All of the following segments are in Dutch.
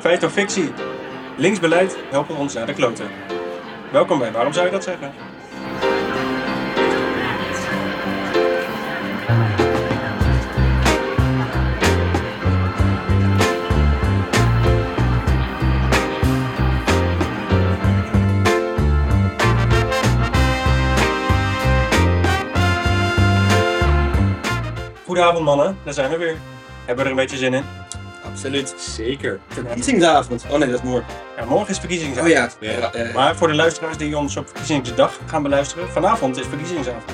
Feit of fictie? Linksbeleid helpen ons naar de kloten. Welkom bij Waarom zou je dat zeggen? Goedenavond mannen, daar zijn we weer. Hebben we er een beetje zin in? Absoluut. Zeker. Verkiezingsavond. Oh nee, dat is morgen. Ja, morgen is verkiezingsavond. Oh ja. Ja. Ra- eh, Maar voor de luisteraars die ons op verkiezingsdag gaan beluisteren, vanavond is verkiezingsavond.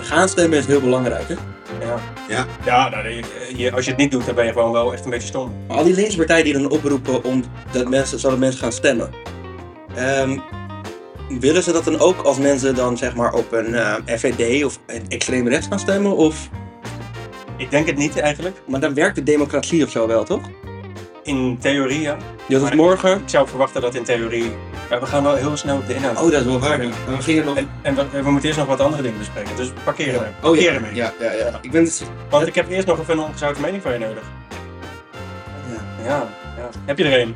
gaan stemmen is heel belangrijk. Hè? Ja, Ja. ja nou, je- je- als je het niet doet, dan ben je gewoon wel echt een beetje stom. Maar al die linkse partijen die dan oproepen om dat mensen, zodat mensen gaan stemmen. Ehm, willen ze dat dan ook als mensen dan zeg maar op een eh, FVD of een extreem rechts gaan stemmen? Of, Ik denk het niet eigenlijk. maar dan werkt de democratie of zo wel, toch? In theorie, ja. Dat is Maar- morgen. Ik zou verwachten dat in theorie... Ja, we gaan wel heel snel op de inhoud. Oh, dat is wel waar. ja. Dan ging het nog. En, en we, we moeten eerst nog wat andere dingen bespreken, dus parkeren we. Oh Parkeren ja. we. Ja, ja, ja. Ik ben dus het. Want ik heb eerst nog even een ongezouten mening van je nodig. Ja. Ja, ja. Heb je er een?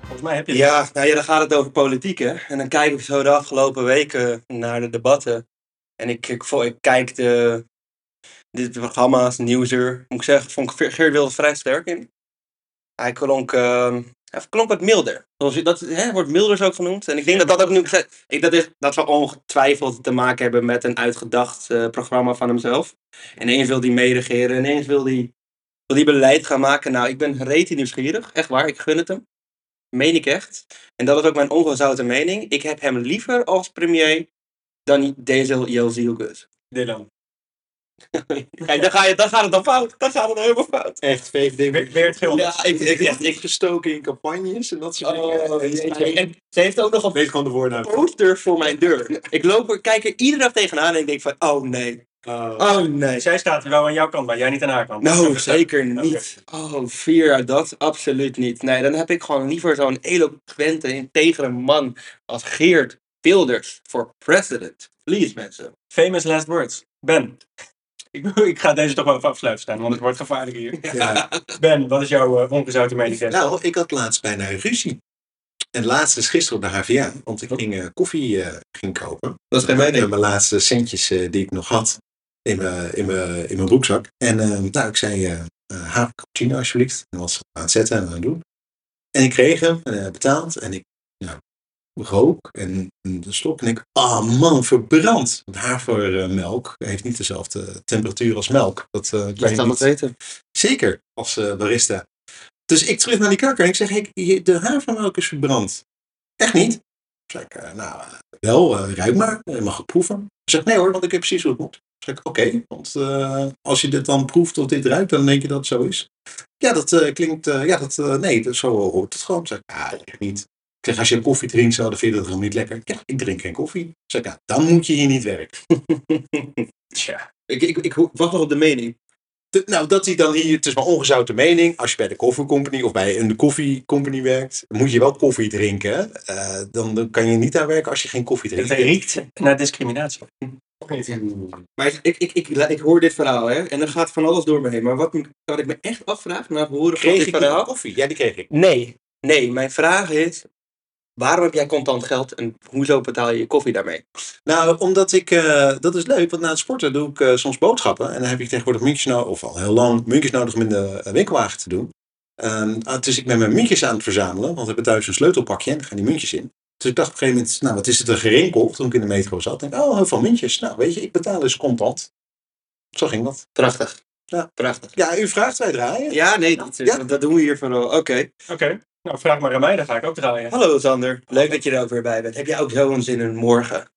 Volgens mij heb je er een. Ja, nou ja, dan gaat het over politiek, hè. En dan kijk ik zo de afgelopen weken naar de debatten. En ik, ik, vo- ik kijk de, dit programma's, Nieuwsuur. Moet ik zeggen, vond ik Ve- Geert Wilders vrij sterk in. Hij klonk, ehm, hij klonk wat milder. Zoals je- dat hè, wordt milders ook genoemd. En ik denk dat dat ook nu... Ik, dat, is, dat zal ongetwijfeld te maken hebben met een uitgedacht eh, programma van hemzelf. En ineens wil hij meeregeren. en Ineens wil hij, wil hij beleid gaan maken. Nou, ik ben rete nieuwsgierig. Echt waar, ik gun het hem. Meen ik echt. En dat is ook mijn ongezouten mening. Ik heb hem liever als premier dan Denzel Jelzielgus. Dylan. Kijk, dan, ga je, dan gaat het dan fout. Dan gaat het helemaal fout. Echt VVD Weer, weer het geel. Ja, ik, ik, echt, ik, gestoken in campagnes en dat soort oh, dingen. jeetje. En ze heeft ook nog een Weet gewoon de woorden uit. poster voor mijn deur. Ik loop er, kijk er iedere dag tegenaan en ik denk van, oh nee. Ah, Oh nee. Zij staat wel aan jouw kant, maar jij niet aan haar kant. Nou, Zo verstaan. zeker niet. Oh, vier, dat absoluut niet. Nee, dan heb ik gewoon liever zo'n eloquente, integere man als Geert Wilders voor president. Please, mensen. Famous last words. Ben. Ik, ik ga deze toch wel even afsluiten staan, want het wordt gevaarlijk hier. Ja. Ben, wat is jouw eh, ongezouten mening? Zes? Nou, ik had laatst bijna een ruzie. En laatst is gisteren op de HVA, want ik ging eh, koffie eh, ging kopen. Dat is geen mening. Met mijn laatste centjes eh, die ik nog had in mijn, in mijn, in mijn broekzak. En eh, nou, ik zei, eh eh, haaf cappuccino alsjeblieft. En was aan het zetten en aan het doen. En ik kreeg hem, eh, betaald. En ik nou, rook en de slok. En ik, ah man, verbrand. Want havermelk heeft niet dezelfde temperatuur als melk. Dat, eh, ik weet niet. weten. Zeker, als eh, barista. Dus ik terug naar die kakker en ik zeg, hey, je- de havermelk is verbrand. Echt niet? Zeg ik, eh, nou, eh, wel, eh, ruik maar, je mag het proeven. Ze zegt, nee hoor, want ik weet precies hoe het moet. Zeg ik, oké, want eh, als je dit dan proeft of dit ruikt, dan denk je dat het zo is. Ja, dat eh, klinkt, eh, ja, dat, eh, nee, dat, zo hoort het gewoon. Zeg ik, ah, echt niet. Ik zeg, als je koffie drinkt, zou, dan vind je dat gewoon niet lekker. Ja, ik drink geen koffie. Zeg ik, nou, dan moet je hier niet werken. Tja. Ik, ik, ik ho- wacht nog op de mening. De- nou, dat hij dan hier, het is mijn ongezouten mening, als je bij de koffiecompany of bij een koffiecompany werkt, moet je wel koffie drinken. hè. Eh, dan, dan kan je niet daar werken als je geen koffie Het drinkt. riekt naar discriminatie. Maar ik, ik, ik, ik, ik hoor dit verhaal, hè, en er gaat van alles door me heen. Maar wat, me- wat ik me echt afvraag na het horen van Kreeg dit ik die verhaal... koffie? Ja, die kreeg ik. Nee. Nee, mijn vraag is... Waarom heb jij contant geld en hoezo betaal je je koffie daarmee? Nou, omdat ik, eh, dat is leuk, want na het sporten doe ik eh, soms boodschappen. En dan heb ik tegenwoordig muntjes nodig, of al heel lang, muntjes nodig om in de eh, winkelwagen te doen. Ehm, ah, dus ik ben mijn muntjes aan het verzamelen, want we hebben thuis een sleutelpakje en daar gaan die muntjes in. Dus ik dacht op een gegeven moment, nou wat is het een gerinkel toen ik in de metro zat. Ik denk, oh, heel veel muntjes. Nou, weet je, ik betaal eens contant. Zo ging dat. Prachtig. Ja. Prachtig. Ja, u vraagt, wij draaien. Ja, nee, dat, Ja. dat doen we hier van wel. Oké. Oké, nou vraag maar aan mij, dan ga ik ook draaien. Hallo Sander. Leuk dat je er ook weer bij bent. Heb jij ook zo'n zin in morgen?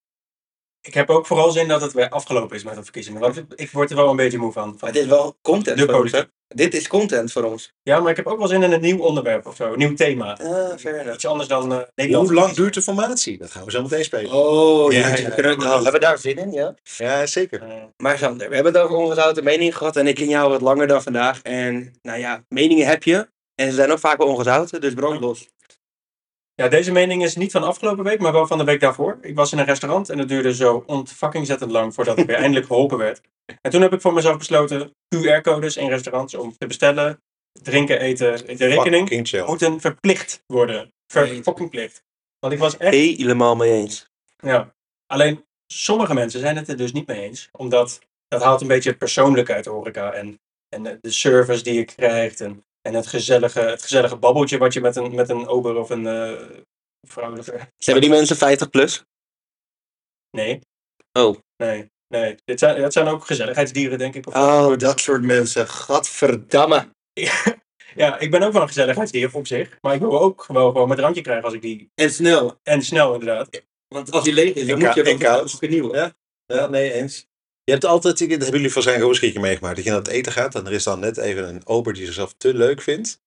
Ik heb ook vooral zin dat het weer afgelopen is met de verkiezingen, want ik- ik word er wel een beetje moe van. Maar dit is wel content De voor ons, hè? politiek. Dit is content voor ons. Ja, maar ik heb ook wel zin in een nieuw onderwerp of zo, een nieuw thema. Ah, verder. Iets anders dan eh Nederland. Hoe lang duurt de formatie? Dat gaan we zo meteen spelen. Oh, Ja, ja, ja. we kunnen ook- nou, hebben we daar zin in, ja? Ja, zeker. Eh, Maar Sander, we hebben het over ongezouten meningen gehad en ik ken jou wat langer dan vandaag. En nou ja, meningen heb je en ze zijn ook vaak wel ongezouten, dus brand los. Ja, deze mening is niet van afgelopen week, maar wel van de week daarvoor. Ik was in een restaurant en het duurde zo ontfucking zettend lang voordat ik weer eindelijk geholpen werd. En toen heb ik voor mezelf besloten QR-codes in restaurants om te bestellen drinken, eten, de rekening Fucking chill. moeten verplicht worden. Ver Nee. fucking plicht. Want ik was echt... Helemaal mee eens. Ja. Alleen sommige mensen zijn het er dus niet mee eens. Omdat dat haalt een beetje het persoonlijke uit de horeca. En, en de- de service die je krijgt. En, en het, gezellige, het gezellige babbeltje wat je met een, met een ober of een eh vrouwelijke... Zijn die mensen 50 plus? Nee. Oh. Nee. Nee. Dit zijn, dat zijn ook gezelligheidsdieren, denk ik. Of Oh, dat soort mensen. Gadverdamme. Ja, ik ben ook wel een gezelligheidsdier op zich. Maar ik wil ook wel gewoon mijn drankje krijgen als ik die... En snel. En snel inderdaad. Want als die leeg is, dan NK moet je NK. wel een nieuw. hè? Ja, nee, eens. Je hebt altijd, dat hebben jullie waarschijnlijk ook een keertje meegemaakt, dat je naar het eten gaat en er is dan net even een ober die zichzelf te leuk vindt.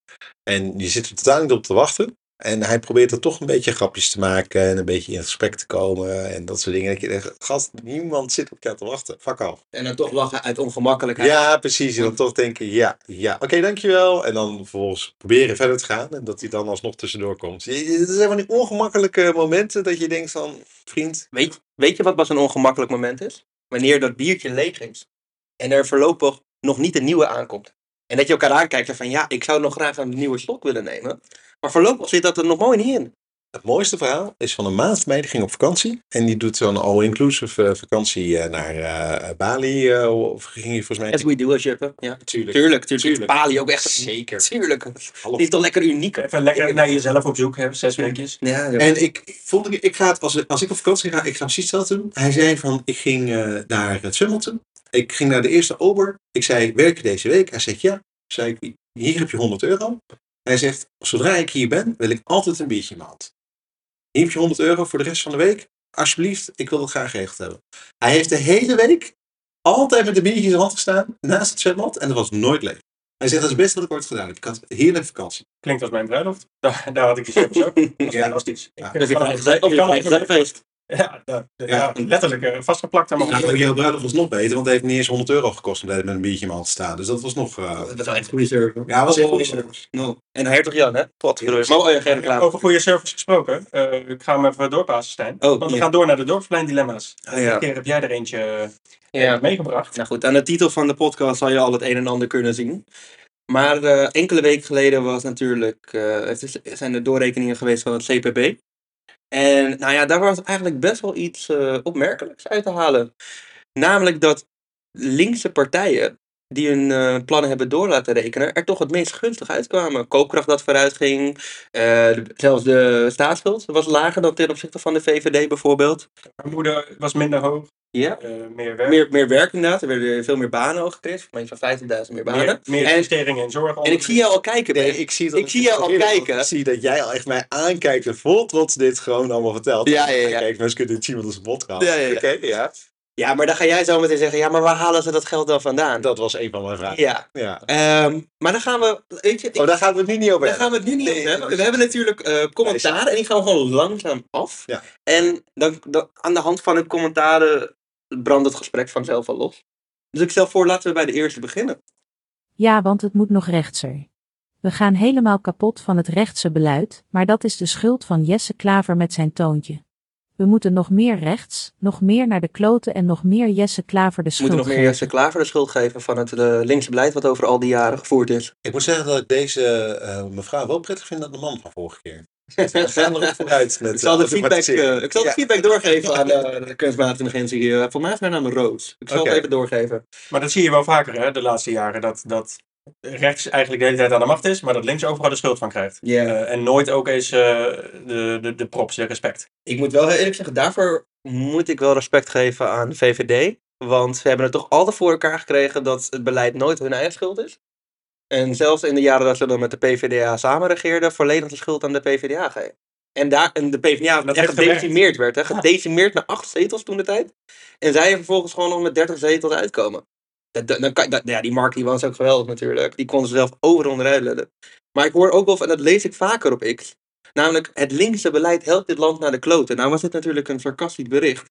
En je zit er totaal niet op te wachten. En hij probeert er toch een beetje grapjes te maken en een beetje in het gesprek te komen en dat soort dingen. Dat je denkt, gast, niemand zit op jou te wachten. Fuck af. En dan toch lachen uit ongemakkelijkheid. Ja, precies. En dan toch denken, ja, ja, oké, dankjewel. En dan vervolgens proberen verder te gaan en dat hij dan alsnog tussendoor komt. Je- je- Het zijn van die ongemakkelijke momenten dat je denkt van, vriend, Weet, weet je wat pas een ongemakkelijk moment is? Wanneer dat biertje leeg is en er voorlopig nog niet een nieuwe aankomt. En dat je elkaar aankijkt en van ja, ik zou nog graag een nieuwe slok willen nemen. Maar voorlopig zit dat er nog mooi niet in. Het mooiste verhaal is van een maand mee, die ging op vakantie. En die doet zo'n all-inclusive eh, vakantie eh, naar eh, Bali. eh, of ging hij volgens mij... As we do as Juppen. Ja. natuurlijk. Tuurlijk, tuurlijk. Tuurlijk. Is Bali ook echt. Zeker. Tuurlijk. Half. Die is toch lekker uniek. Even lekker naar jezelf op zoek hebben, zes weekjes. Ja, joh. En ik vond, ik, ik ga het, als, als ik op vakantie ga, ik ga precies dat doen. Hij zei van, ik ging eh, naar het Summelton. Ik ging naar de eerste ober. Ik zei, werk je deze week? Hij zegt, ja. Zei ik, hier heb je 100 euro. Hij zegt, zodra ik hier ben, wil ik altijd een biertje in mijn hand. Hier heb je 100 euro voor de rest van de week. Alsjeblieft, ik wil het graag geregeld hebben. Hij heeft de hele week altijd met een biertje in zijn hand gestaan naast het zwembad. En dat was nooit leeg. Hij zegt, dat is het beste wat ik ooit gedaan heb. Ik had heerlijke vakantie. Klinkt als mijn bruiloft. Daar, daar had ik die service ook. Dat was Ja. fantastisch. Ja. Ik, eh, Dat is kan een het- ik kan het- feest. Ja, ja, Ja. ja, letterlijk eh, vastgeplakt aan mijn hand. Nou, jouw bruiloft was nog beter, want het heeft niet eens 100 euro gekost om met een biertje in mijn hand te staan. Dus dat was nog... eh, Dat is wel echt Oh. goede service. ja, was echt wel eens- No. En Hertog Jan, hè? Potverdorie. Maar oh ja, geen reclame. Over goede service gesproken. eh, ik ga hem even doorpassen, Stijn. Oh, want we ja. gaan door naar de dorpsplein dilemma's. Oh, ja. Een keer heb jij er eentje eh, Ja. meegebracht. Nou goed, aan de titel van de podcast zal je al het een en ander kunnen zien. Maar eh, enkele weken geleden was natuurlijk, eh, het is- zijn er doorrekeningen geweest van het CPB. En nou ja, daar was eigenlijk best wel iets eh, opmerkelijks uit te halen. Namelijk dat linkse partijen die hun eh, plannen hebben door laten rekenen, er toch het meest gunstig uitkwamen. Koopkracht dat vooruit ging, eh, de- zelfs de staatsschuld was lager dan ten opzichte van de VVD bijvoorbeeld. Vermoeden was minder hoog, Ja. eh, meer werk. Meer, meer werk inderdaad, er werden veel meer banen ook gecreëerd, voor mensen van 15.000 meer banen. meer, meer En- investeringen en zorg. En ik zie jou al kijken. Nee, Ben. ik zie, Ik zie jou al kijken. Ik zie dat jij al echt mij aankijkt en vol trots dit gewoon allemaal vertelt. Ja, ja, ja. Kijk, nou mensen kunnen het zien, want dat is een podcast. Ja, ja, ja. Oké, ja. Ja, maar dan ga jij zo meteen zeggen, ja, maar waar halen ze dat geld dan vandaan? Dat was een van mijn vragen. Ja, Ja. ehm, maar dan gaan we, weet je, ik- Oh, daar gaan we het nu niet over daar hebben. gaan we het nu niet Nee, over hebben. dat We is- hebben natuurlijk eh commentaar en die gaan we gewoon langzaam af. Ja. En dan, dan aan de hand van de commentaren brandt het gesprek vanzelf al los. Dus ik stel voor, laten we bij de eerste beginnen. Ja, want het moet nog rechtser. We gaan helemaal kapot van het rechtse beleid, maar dat is de schuld van Jesse Klaver met zijn toontje. We moeten nog meer rechts, nog meer naar de kloten en nog meer Jesse Klaver de We moeten schuld nog meer geven. Jesse Klaver de schuld geven van het eh, linkse beleid wat over al die jaren gevoerd is. Ik moet zeggen dat ik deze eh, mevrouw wel prettig vind dan de man van vorige keer. We gaan erop vooruit. Met, Ik zal de eh, feedback, eh, ik zal de Ja. feedback doorgeven aan eh, de kunstmatige intelligentie hier. Volgens mij is mijn naam Roos. Ik zal Oké. het even doorgeven. Maar dat zie je wel vaker hè, de laatste jaren. Dat, dat rechts eigenlijk de hele tijd aan de macht is, maar dat links overal de schuld van krijgt. Ja. Eh, en nooit ook eens eh, de, de, de props, de respect. Ik moet wel heel eerlijk zeggen, daarvoor moet ik wel respect geven aan de VVD. Want ze hebben het toch altijd voor elkaar gekregen dat het beleid nooit hun eigen schuld is. En zelfs in de jaren dat ze dan met de PvdA samenregeerden, volledig de schuld aan de PvdA geven. En, daar, en de PvdA Dat echt heeft gewerkt. gedecimeerd werd. Hè? Gedecimeerd naar acht zetels toen de tijd. En zij er vervolgens gewoon nog met dertig zetels uitkomen. Dat, dat- dan kan, dat, ja, die Mark die was ook geweldig natuurlijk. Die kon zichzelf overal onderuit leiden. Maar ik hoor ook wel, en dat lees ik vaker op X, Namelijk, het linkse beleid helpt dit land naar de kloten. Nou was dit natuurlijk een sarcastisch bericht.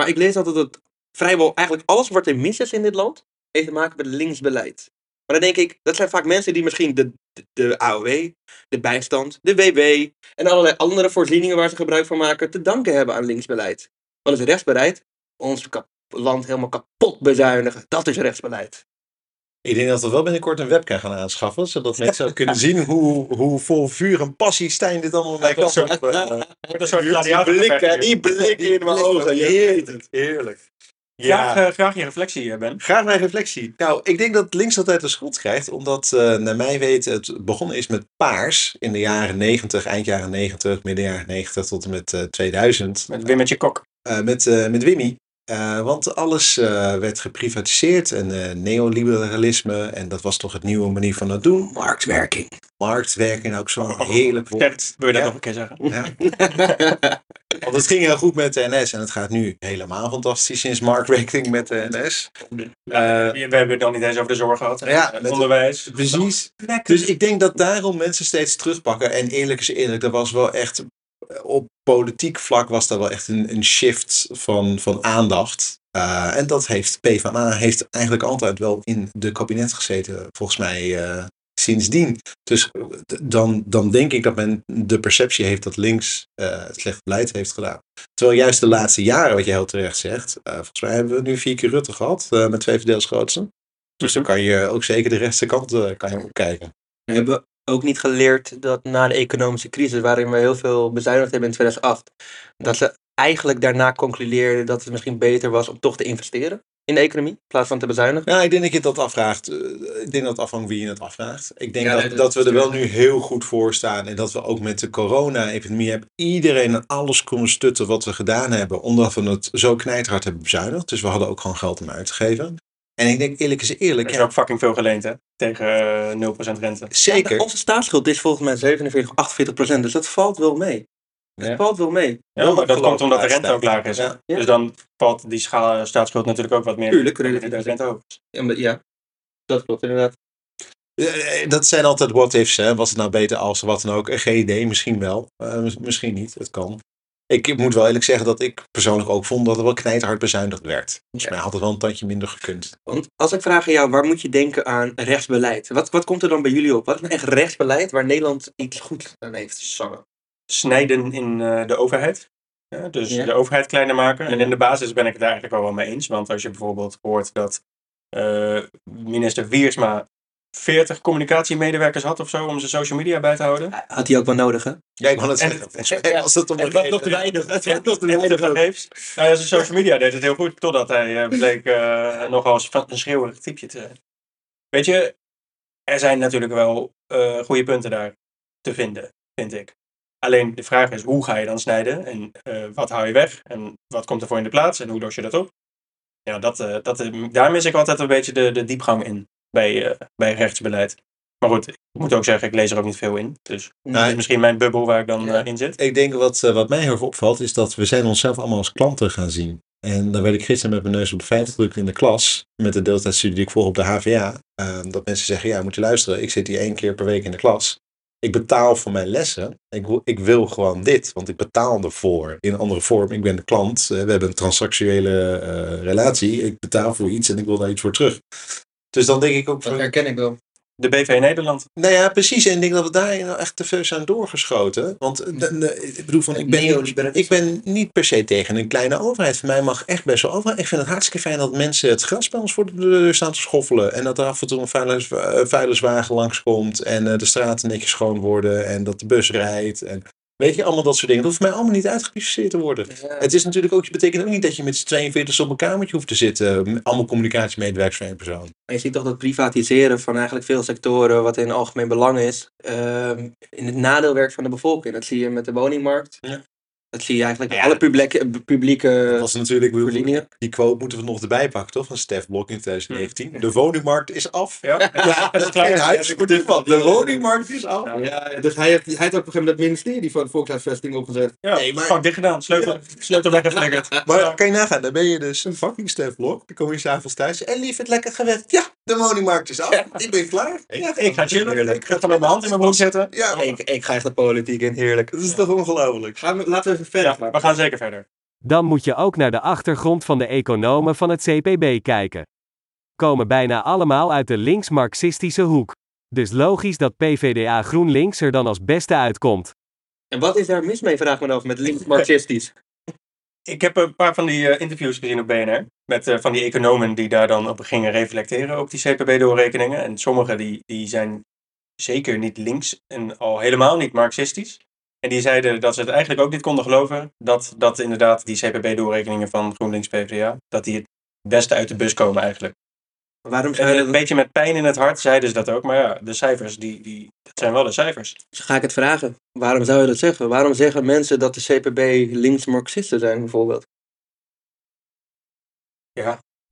Maar ik lees altijd dat vrijwel eigenlijk alles wat er mis is in dit land, heeft te maken met links beleid. Maar dan denk ik, dat zijn vaak mensen die misschien de, de, de AOW, de bijstand, de WW en allerlei andere voorzieningen waar ze gebruik van maken, te danken hebben aan linksbeleid. Want het rechtsbeleid, ons kap- land helemaal kapot bezuinigen, dat is rechtsbeleid. Ik denk dat we wel binnenkort een webcam gaan aanschaffen, zodat mensen ook kunnen zien hoe, hoe vol vuur en passie Stijn dit allemaal bij kan. soort, Wordt een soort gladiator. die blik in mijn ogen. Heerlijk. Heerlijk. Graag, Ja. eh, graag je reflectie, eh, Ben. Graag mijn reflectie. Nou, ik denk dat links altijd de schuld krijgt, omdat eh, naar mij weten het begonnen is met paars in de jaren 90, eind jaren 90, midden jaren 90 tot en met eh, 2000. Met Wim met je kok. Eh, met, eh, met Wimmy. Eh, want alles eh, werd geprivatiseerd en eh, neoliberalisme. En dat was toch het nieuwe manier van dat doen. Marktwerking. Marktwerking, nou, ook zo'n heerlijk woord. Sterk, Oh, wil je dat Ja. nog een keer zeggen? Ja. Want het ging heel goed met de NS en het gaat nu helemaal fantastisch sinds marktwerking met de NS. Eh, We hebben het nog niet eens over de zorg gehad. hè? Ja, Eh, met- onderwijs. precies. Dus ik denk dat daarom mensen steeds terugpakken. En eerlijk is eerlijk, er was wel echt op politiek vlak was daar wel echt een, een shift van, van aandacht. Eh, en dat heeft PvdA heeft eigenlijk altijd wel in de kabinet gezeten, volgens mij eh, sindsdien. Dus eh, d- dan, dan denk ik dat men de perceptie heeft dat links eh, het slecht beleid heeft gedaan. Terwijl juist de laatste jaren, wat je heel terecht zegt, eh, volgens mij hebben we nu vier keer Rutte gehad, eh, met twee verdeels grootste. Dus dan kan je ook zeker de rechtse kant eh, kan je kijken. We hebben ook niet geleerd dat na de economische crisis, waarin we heel veel bezuinigd hebben in 2008, dat ze eigenlijk daarna concludeerden dat het misschien beter was om toch te investeren in de economie, in plaats van te bezuinigen. Ja, ik denk dat je dat afvraagt. eh, Ik denk dat het afhangt wie je het afvraagt. Ik denk Ja, dat, nee, dat dat we is er wel nu heel goed voor staan. En dat we ook met de corona-epidemie hebben iedereen aan alles kunnen stutten wat we gedaan hebben. Omdat we het zo knijterhard hebben bezuinigd. Dus we hadden ook gewoon geld om uit te geven. En ik denk eerlijk is eerlijk. Er is ja, ook fucking veel geleend, hè? Tegen eh, 0% rente. zeker. Onze staatsschuld is volgens mij 47 of 48 procent, dus dat valt wel mee. Dat Ja. valt wel mee. Ja, maar dat afgelopen komt omdat de rente tijd. ook laag is. Ja. Dus dan valt die schaal, eh, staatsschuld natuurlijk ook wat meer. Tuurlijk, relatief. de rente ook. Ja, maar- Ja, dat klopt inderdaad. Eh, eh, Dat zijn altijd what-ifs. hè. Was het nou beter als wat dan ook? Eh, Geen idee, misschien wel. Eh, mis- misschien niet, het kan. Ik moet wel eerlijk zeggen dat ik persoonlijk ook vond dat er wel knijterhard bezuinigd werd. Volgens mij had het wel een tandje minder gekund. Want als ik vraag aan jou, waar moet je denken aan rechtsbeleid? Wat, wat komt er dan bij jullie op? Wat is nou echt rechtsbeleid waar Nederland iets goed aan heeft gezongen? Snijden in eh, de overheid. Ja, dus Ja. de overheid kleiner maken. En Ja. in de basis ben ik het daar eigenlijk wel wel mee eens. Want als je bijvoorbeeld hoort dat eh, minister Wiersma 40 communicatiemedewerkers had of zo om zijn social media bij te houden. Had hij ook wel nodig, hè? Ja, ik wou net En- zeggen. volgens mij was dat om en een wat reden. nog weinig. Het Ja, vergeefs. Nou ja, zijn social media deed het heel goed, totdat hij eh, bleek eh, nogal eens van- een schreeuwerig typje te zijn. Weet je, er zijn natuurlijk wel eh, goede punten daar te vinden, vind ik. Alleen de vraag is, hoe ga je dan snijden? En eh, wat hou je weg? En wat komt er voor in de plaats? En hoe los je dat op? Ja, dat, eh, dat, eh, daar mis ik altijd een beetje de, de diepgang in bij, eh, bij rechtsbeleid. Maar goed, ik moet ook zeggen, ik lees er ook niet veel in. Dus dat is misschien mijn bubbel waar ik dan Ja. eh, in zit. Ik denk wat, eh, wat mij heel erg opvalt is dat we zijn onszelf allemaal als klanten gaan zien. En dan werd ik gisteren met mijn neus op de feit gedrukt in de klas. Met de deeltijdstudie die ik volg op de HVA. eh, dat mensen zeggen, ja moet je luisteren. Ik zit hier één keer per week in de klas. Ik betaal voor mijn lessen. Ik wil, ik wil gewoon dit. Want ik betaal ervoor. In een andere vorm. Ik ben de klant. eh, we hebben een transactionele eh, relatie. Ik betaal voor iets en ik wil daar iets voor terug. Dus dan denk ik ook... van- herken ik wel. De BV Nederland. nou ja, precies. En ik denk dat we daarin nou echt te veel zijn doorgeschoten. Want eh, de- de- ik bedoel, van, ik ben, neoliberalisme. ik ben niet per se tegen een kleine overheid. Voor mij mag echt best wel overheid. Ik vind het hartstikke fijn dat mensen het gras bij ons voor de deur staan te schoffelen. En dat er af en toe een vuilnis- eh, vuilniswagen langskomt. En eh, de straten netjes schoon worden. En dat de bus rijdt. En weet je, allemaal dat soort dingen. Dat hoeft mij allemaal niet uitgecritiseerd te worden. Het is natuurlijk ook, het betekent ook niet dat je met z'n 42 op een kamertje hoeft te zitten. Allemaal communicatiemedewerkers van één persoon. Maar je ziet toch dat privatiseren van eigenlijk veel sectoren, wat in algemeen belang is, ehm, in het nadeel werkt van de bevolking. Dat zie je met de woningmarkt. Ja. Dat zie je eigenlijk Ja, met alle publieke, Dat publieke was natuurlijk... voorzieningen. Eh, Die quote moeten we nog erbij pakken, toch? Van Stef Blok in 2019. De woningmarkt is af. Ja, Ja, dat is klaar. Geen huis wordt ervan. De woningmarkt is af. Ja, dus hij heeft, hij heeft ook op een gegeven moment het ministerie van Volkshuisvesting opgezet. Ja, Nee, maar- fuck, dicht gedaan. Sleutel, sleutel weggeflikkerd. Maar kan je nagaan, dan ben je dus een fucking Stef Blok. Dan kom je s'avonds thuis en lief het lekker gewerkt. Ja, de woningmarkt is af. Ik ben klaar. Ja, Ik ga chillen. Ik ga dan met mijn hand in mijn broek zetten. Ja, Ik, ik ga echt de politiek in, heerlijk. dat is toch ongelooflijk. Gaan we, laten we even verder. Ja, we gaan zeker verder. Dan moet je ook naar de achtergrond van de economen van het CPB kijken. Komen bijna allemaal uit de links-marxistische hoek. Dus logisch dat PVDA GroenLinks er dan als beste uitkomt. En wat is daar mis mee, vraag me af, met links-marxistisch? ik heb een paar van die eh, interviews gezien op BNR. Met eh, van die economen die daar dan op gingen reflecteren op die CPB-doorrekeningen. En sommige die, die zijn zeker niet links en al helemaal niet marxistisch. En die zeiden dat ze het eigenlijk ook niet konden geloven. Dat, dat inderdaad die CPB-doorrekeningen van GroenLinks PvdA, dat die het beste uit de bus komen eigenlijk. Waarom En zou je een dat beetje met pijn in het hart zeiden ze dat ook. Maar ja, de cijfers, die, die, dat zijn wel de cijfers. Dus ga ik het vragen. Waarom zou je dat zeggen? Waarom zeggen mensen dat de CPB links-marxisten zijn, bijvoorbeeld?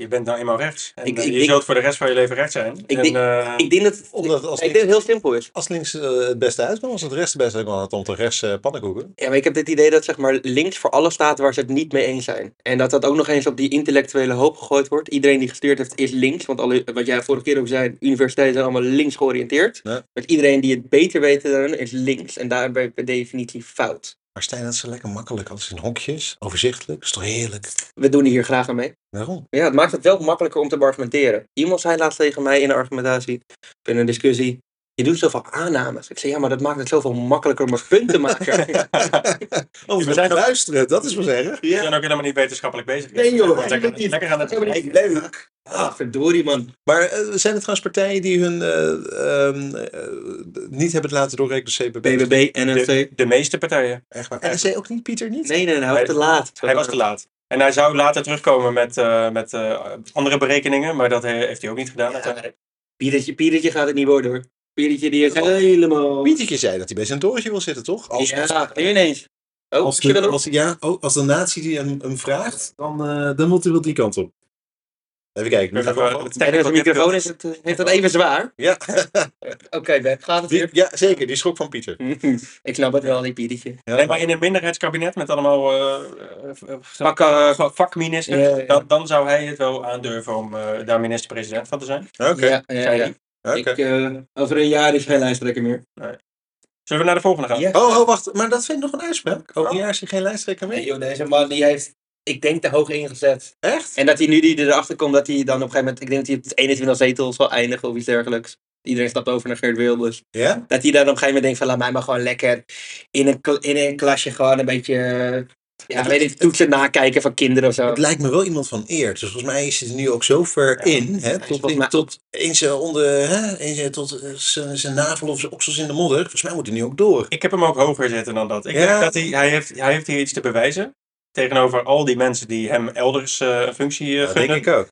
Je bent nou eenmaal rechts. En Ik- eh, ik je denk- zult voor de rest van je leven rechts zijn. Ik en, denk- eh, Ik denk dat, Omdat als ik denk dat het links, heel simpel is. als links eh, het beste uitkwam, was het rechts het beste uitkwam. Dan had om de rechts eh, pannenkoeken. Ja, maar ik heb dit idee dat zeg maar, links voor alles staat waar ze het niet mee eens zijn. En dat dat ook nog eens op die intellectuele hoop gegooid wordt. Iedereen die gestudeerd heeft is links. Want alle, wat jij vorige keer ook zei, universiteiten zijn allemaal links georiënteerd. Ja. Dus iedereen die het beter weet dan is links. En daarbij per definitie fout. Maar Stijn, dat is zo lekker makkelijk. Alles in hokjes, overzichtelijk. Dat is toch heerlijk? We doen hier graag aan mee. Waarom? Ja, het maakt het wel makkelijker om te argumenteren. Iemand zei laatst tegen mij in een argumentatie, of in een discussie, je doet zoveel aannames. Ik zei, ja, maar dat maakt het zoveel makkelijker om een punt te Oh, maken. we we zijn zijn ook- luisteren, dat is wel zeggen. We zijn ook helemaal niet wetenschappelijk bezig. Nee, joh, We zijn dat lekker, moet niet. lekker aan het niet leuk. ah, verdorie man. Maar eh, zijn er trouwens partijen die hun eh, ehm, eh, niet hebben laten doorrekenen door CPB? BBB, NRC. de, de meeste partijen. Echt waar. En NRC ook niet, Pieter niet? Nee, nee, nee, hij was te laat. Hij was te laat. En hij zou later terugkomen met, eh, met eh, andere berekeningen, maar dat he- heeft hij ook niet gedaan. uiteindelijk. Pietertje, Pietertje gaat het niet worden hoor. Pietertje die is helemaal... Pietertje zei dat hij bij zijn torentje wil zitten, toch? Als, Oh. Ja, nu ineens. Oh, als, als je de, dat ook... als, ja, oh, als de natie die hem, hem vraagt, dan, eh, dan moet hij wel die kant op. Even kijken. nu We gaan we- hebben wat Bij deze technical microfoon difficulties. is het, eh, heeft dat even zwaar. Ja. Oké, Ben, gaat het Die- weer? ja, zeker. Die schrok van Pieter. Ik snap het wel, die Pietertje. Ja. Nee, maar in een minderheidskabinet met allemaal eh, eh, eh, Pak, eh, va- vakministers, Ja, ja. Dan, dan zou hij het wel aandurven om eh, daar minister-president van te zijn. Oké. Ja, ja, ja. oké. Ik, eh, over een jaar is geen lijsttrekker meer. Zullen we naar de volgende gaan? Ja. Oh, oh, wacht. Maar dat vind ik nog een uitspraak. Oh, Over een jaar is hij geen lijsttrekker Oh. Nee, meer. joh, deze man die heeft, ik denk, te hoog ingezet. Echt? En dat hij nu die erachter komt, dat hij dan op een gegeven moment, ik denk dat hij op 21 zetels zal eindigen of iets dergelijks. Iedereen stapt over naar Geert Wilders. Ja? Dat hij dan op een gegeven moment denkt van, laat mij maar gewoon lekker in een, kla- in een klasje gewoon een beetje, eh, ja, weet ik, toetsen nakijken van kinderen of zo. Het lijkt me wel iemand van eer. Dus volgens mij is hij er nu ook zo ver in. Hè, tot, volgens in, mij- tot in zijn onder, hè, in zijn, tot eh, zijn, zijn navel of zijn oksels in de modder. Volgens mij moet hij nu ook door. Ik heb hem ook hoger zitten dan dat. Ik Ja. denk dat hij, hij, heeft, hij heeft hier iets te bewijzen. Tegenover al die mensen die hem elders eh, een functie eh, gunnen. ook.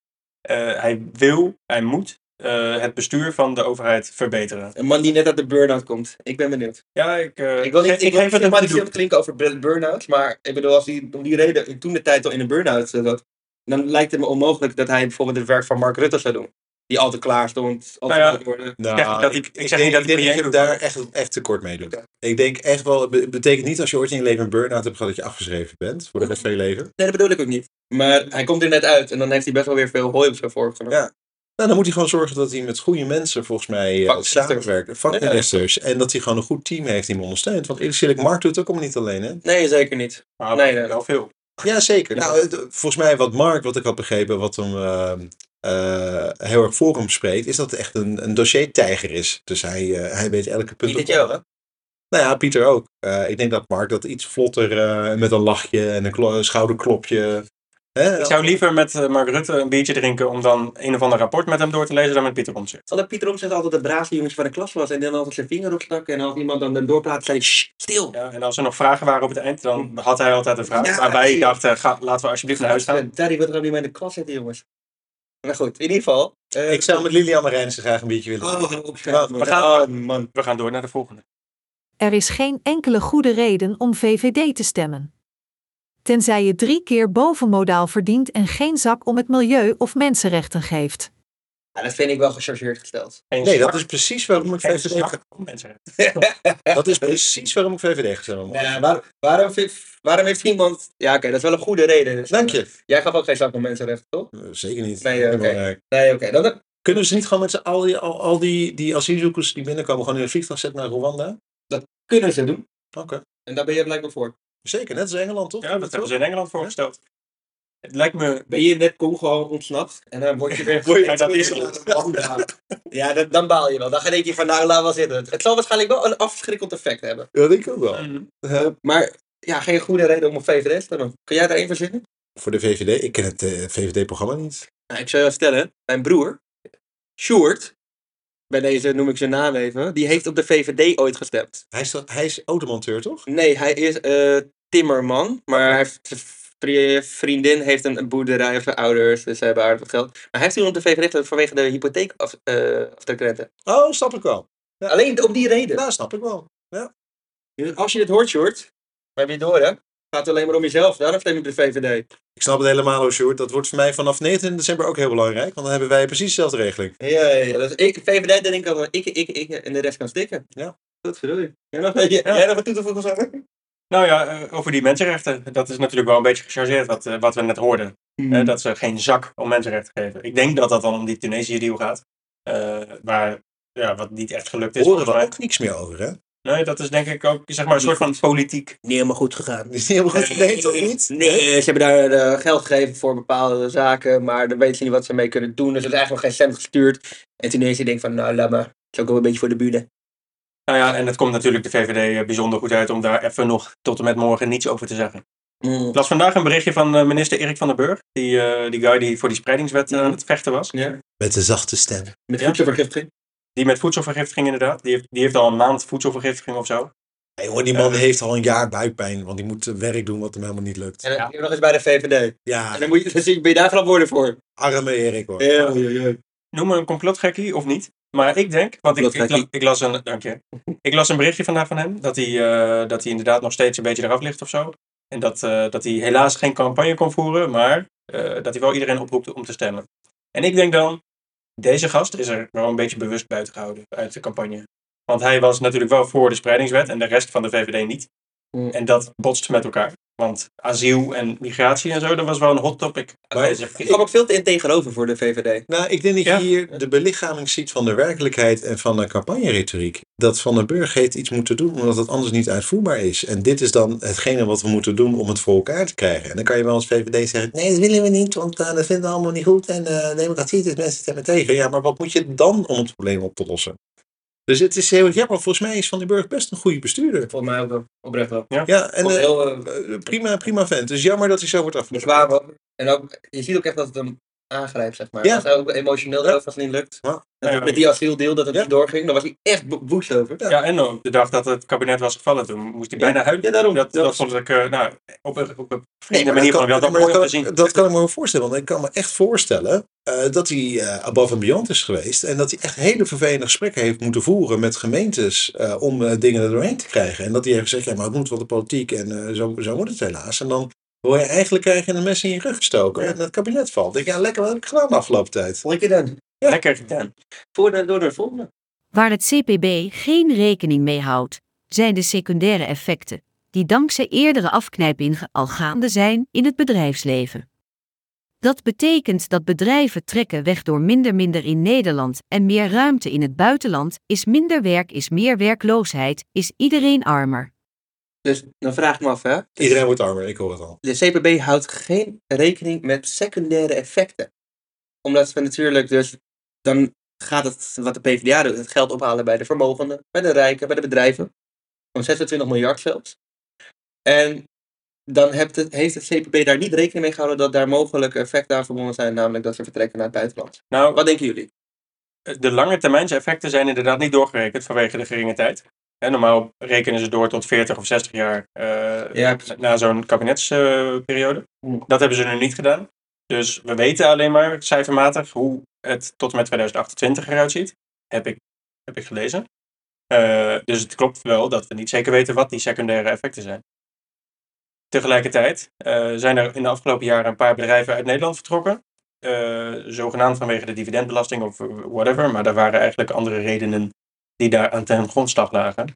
Eh, hij wil, hij moet eh, het bestuur van de overheid verbeteren. Een man die net uit de burn-out komt. Ik ben benieuwd. Ja, ik, eh, Ik wil niet, ge- ik geef het wil hem te niet doen. helemaal klinken over bur- burn-out, maar ik bedoel, als hij om die reden toen de tijd al in een burn-out zat, dan lijkt het me onmogelijk dat hij bijvoorbeeld het werk van Mark Rutte zou doen. Die altijd klaar stond, altijd Nou ja. moet worden. Nou, zeg niet dat ik, ik zeg niet dat ik denk premier dat je doet. daar echt, echt tekort mee doet. Oké. Ik denk echt wel, het be- het betekent niet als je ooit in je leven een burn-out hebt gehad dat je afgeschreven bent voor de rest van je leven. Nee, dat bedoel ik ook niet. Maar hij komt er net uit en dan heeft hij best wel weer veel hooi op zijn vork genomen. Ja. Nou, dan moet hij gewoon zorgen dat hij met goede mensen volgens mij eh, Vakministers. samenwerkt. Vakministers. En dat hij gewoon een goed team heeft die hem ondersteunt. Want eerlijk gezegd, Mark doet het ook allemaal niet alleen, hè? Nee, zeker niet. Maar Nee, nee. Ah, wel veel. Ja, zeker. Ja. Nou, het- volgens mij wat Mark, wat ik had begrepen, wat hem ehm, eh, heel erg voor hem spreekt, is dat het echt een, een dossiertijger is. Dus hij, eh, hij weet elke punt. Pieter op- jou, hè? Nou ja, Pieter ook. Eh, ik denk dat Mark dat iets vlotter eh, met een lachje en een klo- schouderklopje. Hè? Ik zou liever met eh, Mark Rutte een biertje drinken om dan een of ander rapport met hem door te lezen dan met Pieter Omtzigt. Zal dat Pieter Omtzigt altijd de braafste jongens van de klas was en dan altijd zijn vinger opstak en als iemand dan erdoor praat, zei hij, "Sst, stil. Ja, Hm. en als er nog vragen waren op het eind, dan had hij altijd een vraag. Ja, waarbij ja. ik dacht, eh, ga, laten we alsjeblieft naar huis gaan. Daddy wil er ook niet meer in de klas zitten, jongens. Maar goed, in ieder geval. eh, Ik zou met Liliane Reinissen graag een biertje willen. Oh, op We gaan, Oh, we gaan door naar de volgende. Er is geen enkele goede reden om VVD te stemmen. Tenzij je drie keer bovenmodaal verdient en geen zak om het milieu of mensenrechten geeft. Ja, dat vind ik wel gechargeerd gesteld. Geen Nee, zwak- dat is precies waarom ik geen VVD zwak heb om mensen. Dat is precies waarom ik VVD gestemd heb. Ja, waar- waarom, vind- waarom heeft iemand... Ja, oké, dat is wel een goede reden. Dus- Dank je. Jij gaf ook geen zak om mensenrechten, toch? Eh, Zeker niet. eh, Nee, ja, oké. Belangrijk. Nee, oké. dan Kunnen ze niet gewoon met z'n al die, al, al die, die asielzoekers die binnenkomen gewoon in een vliegtuig zetten naar Rwanda? Oké. kunnen ze doen. En daar ben je blijkbaar voor. Zeker, net als Engeland, toch? Ja, dat hebben ze in Engeland voorgesteld. Het lijkt me... Ben je net Congo ontsnapt en dan word je weer... Ja, dat is het. Ja, dat- dan baal je wel. Dan denk je van, nou, laat wel zitten. Het zal waarschijnlijk wel een afschrikkend effect hebben. Ja, denk ik ook wel. Mm, Maar ja, geen goede reden om op VVD te stemmen. Kun jij daar één verzinnen? Voor de VVD, ik ken het eh, VVD-programma niet. Nou, ik zou je wel vertellen, mijn broer, Sjoerd, bij deze noem ik zijn naam even, die heeft op de VVD ooit gestemd. Hij is, toch- hij is automonteur, toch? Nee, hij is eh, timmerman, maar hij heeft, zijn vri- vriendin heeft een een boerderij voor ouders, dus ze hebben aardig wat geld. Maar hij heeft toen op de VVD gestemd vanwege de eh, hypotheekafdrukrente. Oh, snap ik wel. Alleen om die reden. Nou, snap ik wel. Dus als je dit hoort, Sjoerd, maar heb je het door hè? Gaat het alleen maar om jezelf, daarom stem je op de VVD. Ik snap het helemaal, hoor, Sjoerd. Dat wordt voor mij vanaf 19 december ook heel belangrijk. Want dan hebben wij precies dezelfde regeling. Ja, ja, ja. Dus ik, VVD denk ik dat ik, ik, ik en de rest kan stikken. Ja. Goed, verdorie. Jij nog, jij, jij nog wat toe te voegen, Sander? Nou ja, eh, over die mensenrechten. Dat is natuurlijk wel een beetje gechargeerd wat, eh, wat we net hoorden. Eh, Mhm. dat ze geen zak om mensenrechten geven. Ik denk dat dat dan om die Tunesië-deal gaat. Eh, maar ja, wat niet echt gelukt is. Horen we volgens ook niks meer over, hè? mij. Nee, dat is denk ik ook zeg maar, een soort van politiek. Niet helemaal goed gegaan. Is niet helemaal goed. Nee, toch niet? Nee, ze hebben daar eh, geld gegeven voor bepaalde zaken, maar dan weten ze niet wat ze mee kunnen doen. Dus er is eigenlijk nog geen cent gestuurd. En toen is hij denkt van, nou laat maar. Het is ook wel een beetje voor de buren. Nou ja, en het komt natuurlijk de VVD eh, bijzonder goed uit om daar even nog tot en met morgen niets over te zeggen. Mm. Ik las vandaag een berichtje van eh, minister Erik van den Burg. Die, eh, die guy die voor die spreidingswet eh, aan het vechten was. Ja. Met een zachte stem. Met Ja. voedselvergiftiging. Die met voedselvergiftiging inderdaad. Die heeft, die heeft al een maand voedselvergiftiging of zo. Hey, hoor, die man heeft al een jaar buikpijn. Want die moet eh, werk doen wat hem helemaal niet lukt. En dan nog eens bij de VVD. En Ja, dan, moet je, dan zit- ben je daar verantwoordelijk voor. arme Erik, hoor. Ja, ja, ja. noem me een complotgekkie of niet. Maar ik denk, want ik, ik, la- Complotgekkie. ik las een, dank je. Ik las een berichtje vandaag van hem, dat hij, eh, dat hij inderdaad nog steeds een beetje eraf ligt of zo. En dat, eh, dat hij helaas geen campagne kon voeren, maar eh, dat hij wel iedereen oproept om te stemmen. En ik denk dan, deze gast is er wel een beetje bewust buiten gehouden uit de campagne. Want hij was natuurlijk wel voor de spreidingswet en de rest van de VVD niet. Mm. En dat botst met elkaar. Want asiel en migratie en zo, dat was wel een hot topic. Maar- deze Ik kwam ook veel te integer over voor de VVD. Nou, ik denk dat je Ja. hier de belichaming ziet van de werkelijkheid en van de campagneretoriek. Dat Van den Burg heeft iets moeten doen, omdat het anders niet uitvoerbaar is. En dit is dan hetgene wat we moeten doen om het voor elkaar te krijgen. En dan kan je wel als VVD zeggen, nee, dat willen we niet, want eh, dat vinden we allemaal niet goed. En eh, democratie, dus mensen stemmen tegen. Ja, maar wat moet je dan om het probleem op te lossen? Dus het is heel jammer. Volgens mij is Van den Burg best een goede bestuurder. Volgens mij ook wel. Oprecht wel. Ja, en Volgens eh, heel, eh, eh, prima, prima vent. Dus jammer dat hij zo wordt Dus afgevoerd. waar we- en ook, je ziet ook echt dat het hem aangrijpt, zeg maar. Ja. Als hij ook emotioneel Ja. erover was, niet lukt. Ja. Dat het met die asieldeal, dat het Ja. niet doorging, daar was hij echt bo- woest over. Ja, en op de dag dat het kabinet was gevallen, toen moest hij Ja. bijna huilen. Ja, daarom. Dat, Dat dat was- vond ik eh, nou, op een, op een Nee, vreemde maar manier vond ik dat dat kan- mooi om te maar dat kan- zien. Dat kan ik me wel voorstellen, want ik kan me echt voorstellen eh, dat hij eh, above and beyond is geweest. En dat hij echt hele vervelende gesprekken heeft moeten voeren met gemeentes eh, om eh, dingen er doorheen te krijgen. En dat hij heeft gezegd, ja, maar het moet wel de politiek en eh, zo, zo moet het helaas. En dan wil je eigenlijk krijgen een mes in je rug gestoken en het kabinet valt. Ik denk, ja, lekker, wat heb ik gedaan de afgelopen tijd? Lekker dan. Ja. Lekker gedaan. Voor de, door naar de volgende. Waar het CPB geen rekening mee houdt, zijn de secundaire effecten, die dankzij eerdere afknijpingen al gaande zijn in het bedrijfsleven. Dat betekent dat bedrijven trekken weg door minder minder in Nederland en meer ruimte in het buitenland, is minder werk, is meer werkloosheid, is iedereen armer. Dus dan vraag ik me af, hè. Iedereen wordt armer, ik hoor het al. De CPB houdt geen rekening met secundaire effecten. Omdat we natuurlijk dus, dan gaat het, wat de PvdA doet, het geld ophalen bij de vermogenden, bij de rijken, bij de bedrijven. Om 26 miljard zelfs. En dan heeft het, heeft het CPB daar niet rekening mee gehouden dat daar mogelijke effecten aan verbonden zijn, namelijk dat ze vertrekken naar het buitenland. Nou, Wat denken jullie? de lange termijn effecten zijn inderdaad niet doorgerekend vanwege de geringe tijd. Hè, normaal rekenen ze door tot 40 of 60 jaar eh, Ja, na zo'n kabinetsperiode. Hmm. dat hebben ze nu niet gedaan. Dus we weten alleen maar cijfermatig hoe het tot en met 2028 eruit ziet. Heb ik, heb ik gelezen. Eh, dus het klopt wel dat we niet zeker weten wat die secundaire effecten zijn. Tegelijkertijd eh, zijn er in de afgelopen jaren een paar bedrijven uit Nederland vertrokken. Eh, zogenaamd vanwege de dividendbelasting of whatever. Maar daar waren eigenlijk andere redenen die daar aan ten grondslag lagen.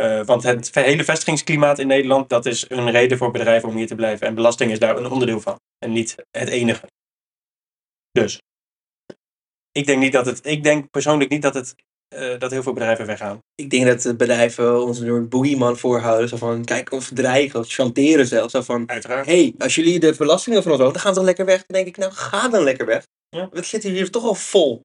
Eh, want het ve- hele vestigingsklimaat in Nederland, dat is een reden voor bedrijven om hier te blijven. En belasting is daar een onderdeel van. En niet het enige. Dus. Ik denk, niet dat het, ik denk persoonlijk niet dat, het, eh, dat heel veel bedrijven weggaan. Ik denk dat de bedrijven ons door een boogeyman voorhouden. Zo van, kijk, of dreigen, of chanteren zelfs. Zo van, Uiteraard. hé, hey, als jullie de belastingen van ons houden, dan gaan ze toch lekker weg. Dan denk ik, nou, ga dan lekker weg. Ja. We zitten hier toch al vol.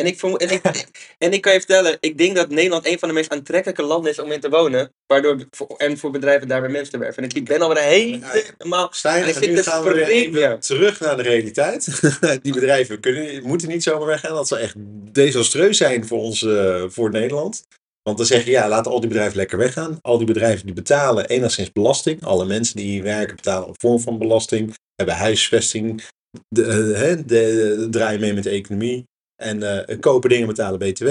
En ik, vermoed- en, ik, en ik kan je vertellen, ik denk dat Nederland een van de meest aantrekkelijke landen is om in te wonen. Waardoor, voor- en voor bedrijven daarbij mensen te werven. En ik ben alweer helemaal... Stijn, Ik en zit nu te gaan we weer even spreken. terug naar de realiteit. Die bedrijven kunnen, moeten niet zomaar weg. En dat zal echt desastreus zijn voor, ons, eh, voor Nederland. Want dan zeg je, ja, laat al die bedrijven lekker weggaan. Al die bedrijven die betalen enigszins belasting. Alle mensen die hier werken betalen een vorm van belasting. Hebben huisvesting. De, eh, hè, de, de- draaien mee met de economie. En eh, kopen dingen betalen BTW.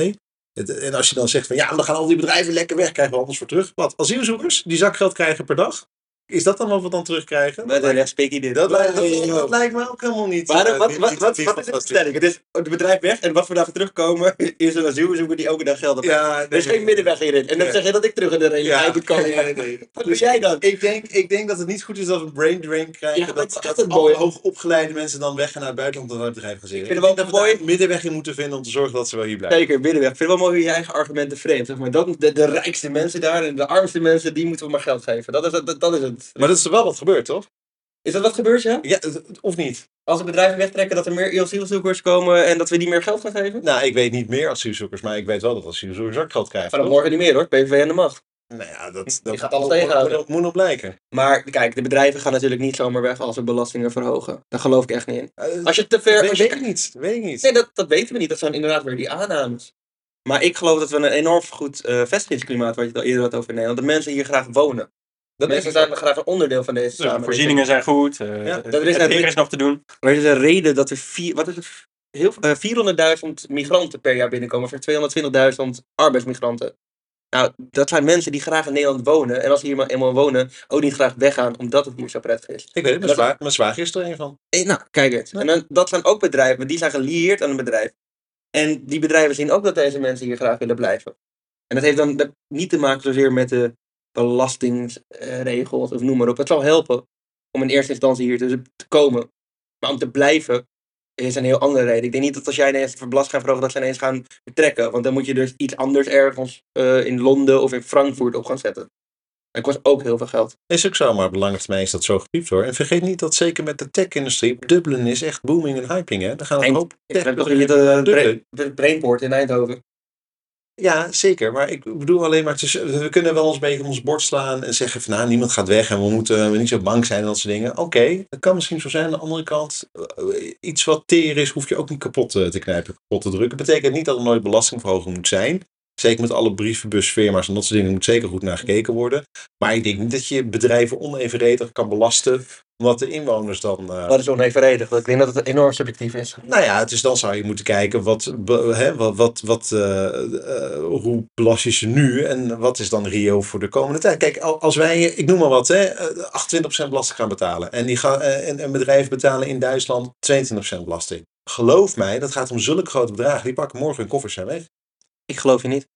Het- en als je dan zegt van ja, dan gaan al die bedrijven lekker weg, krijgen we alles voor terug. Wat? Asielzoekers die zakgeld krijgen per dag. Is dat dan wat we dan terugkrijgen? Maar dan spreek ik dit. Dat, lijkt, dat, Nee, dat lijkt mij ook helemaal niet. Maar eh, wat, niet- wat, niet- wat, niet wat is de fantastisch. stelling? Het is het bedrijf weg en wat we daarvoor terugkomen is een asielzoeker die elke dag geld heeft. Ja, er is nee. geen middenweg hierin. En dan Ja. zeg je dat ik terug in de realiteit moet komen. Ja, nee. Wat doe jij dan? Ik denk, ik denk dat het niet goed is dat we brain drain krijgen. Ja, maar dat het is dat echt een alle mooie- hoogopgeleide mensen dan weggaan naar het buitenland en naar het bedrijf gaan zitten. Ik vind hem denk wel dat we mooi. daar een middenweg in moeten vinden om te zorgen dat ze wel hier blijven. Zeker, middenweg. Ik vind het wel mooi hoe je eigen argumenten frames. Zeg maar dat, de, de rijkste mensen daar en de armste mensen, die moeten we maar geld geven. Dat is, het- dat, dat is het. Maar dat is wel wat gebeurd, toch? Is dat wat gebeurt, ja? Ja, het- of niet? Als de bedrijven wegtrekken, dat er meer asielzoekers komen en dat we die meer geld gaan geven? Nou, ik weet niet meer asielzoekers, maar ik weet wel dat asielzoekers zakgeld krijgen. Maar dat toch? morgen niet meer hoor, PVV aan de macht. Nou ja, dat, dat gaat alles dat- tegenhouden. Dat moet nog blijken. Maar kijk, de bedrijven gaan natuurlijk niet zomaar weg als we belastingen verhogen. Daar geloof ik echt niet in. Eh, Als je te ver... weet, Als je- weet ik niet. Weet ik niet. Nee, dat, dat weten we niet. Dat zijn inderdaad weer die aannames. Maar ik geloof dat we een enorm goed eh, vestigingsklimaat, wat je het al eerder had over in Nederland, dat mensen hier graag wonen. dat mensen denk ik zijn graag een onderdeel van deze Dus de samenleving. voorzieningen zijn goed. eh, Ja, dat is het net- weer is nog te doen. Maar er is een reden dat er, vier, wat is het, heel, eh 400.000 migranten per jaar binnenkomen. Voor 220.000 arbeidsmigranten. Nou, dat zijn mensen die graag in Nederland wonen. En als ze hier maar eenmaal wonen, ook niet graag weggaan omdat het hier zo prettig is. Ik weet het, mijn, Dat- zwaar, mijn zwager is er een van. Eh, nou, kijk eens. En dan, dat zijn ook bedrijven, die zijn gelieerd aan een bedrijf. En die bedrijven zien ook dat deze mensen hier graag willen blijven. En dat heeft dan dat- niet te maken zozeer met de belastingsregels of noem maar op. Het zal helpen om in eerste instantie hier te, te komen. Maar om te blijven is een heel andere reden. Ik denk niet dat als jij ineens voor belast gaat verhogen, dat ze ineens gaan vertrekken. Want dan moet je dus iets anders ergens eh, in Londen of in Frankfurt op gaan zetten. Dat kost ook heel veel geld. Is ook zo, maar op de lange termijn is dat zo gepiept hoor. En vergeet niet dat zeker met de tech-industrie, Dublin is echt booming en hyping hè. Daar gaan we een Eind- hoop Ik heb toch tech- niet de Dublin. brain- brainport in Eindhoven. Ja, zeker. Maar ik bedoel alleen maar, het is- we kunnen wel ons een beetje om ons bord slaan en zeggen van nou, niemand gaat weg en we moeten niet zo bang zijn en dat soort dingen. Oké, dat kan misschien zo zijn. Aan de andere kant, eh, iets wat teer is, hoef je ook niet kapot eh, te knijpen, kapot te drukken. betekent niet dat er nooit belastingverhoging moet zijn. Zeker met alle brievenbusfirma's en dat soort dingen moet zeker goed naar gekeken worden. Maar ik denk niet dat je bedrijven onevenredig kan belasten, omdat de inwoners dan... eh, Dat is onevenredig. Ik denk dat het enorm subjectief is. nou ja, dus dan zou je moeten kijken wat, be- hè, wat, wat, wat eh, eh, hoe belast je ze nu en wat is dan Rio voor de komende tijd? Kijk, al- als wij, ik noem maar wat, hè, eh, 28% belasting gaan betalen en, die gaan, eh, en, en bedrijven betalen in Duitsland 22% belasting. Geloof mij, dat gaat om zulke grote bedragen. Die pakken morgen hun koffers en weg. Ik geloof je niet.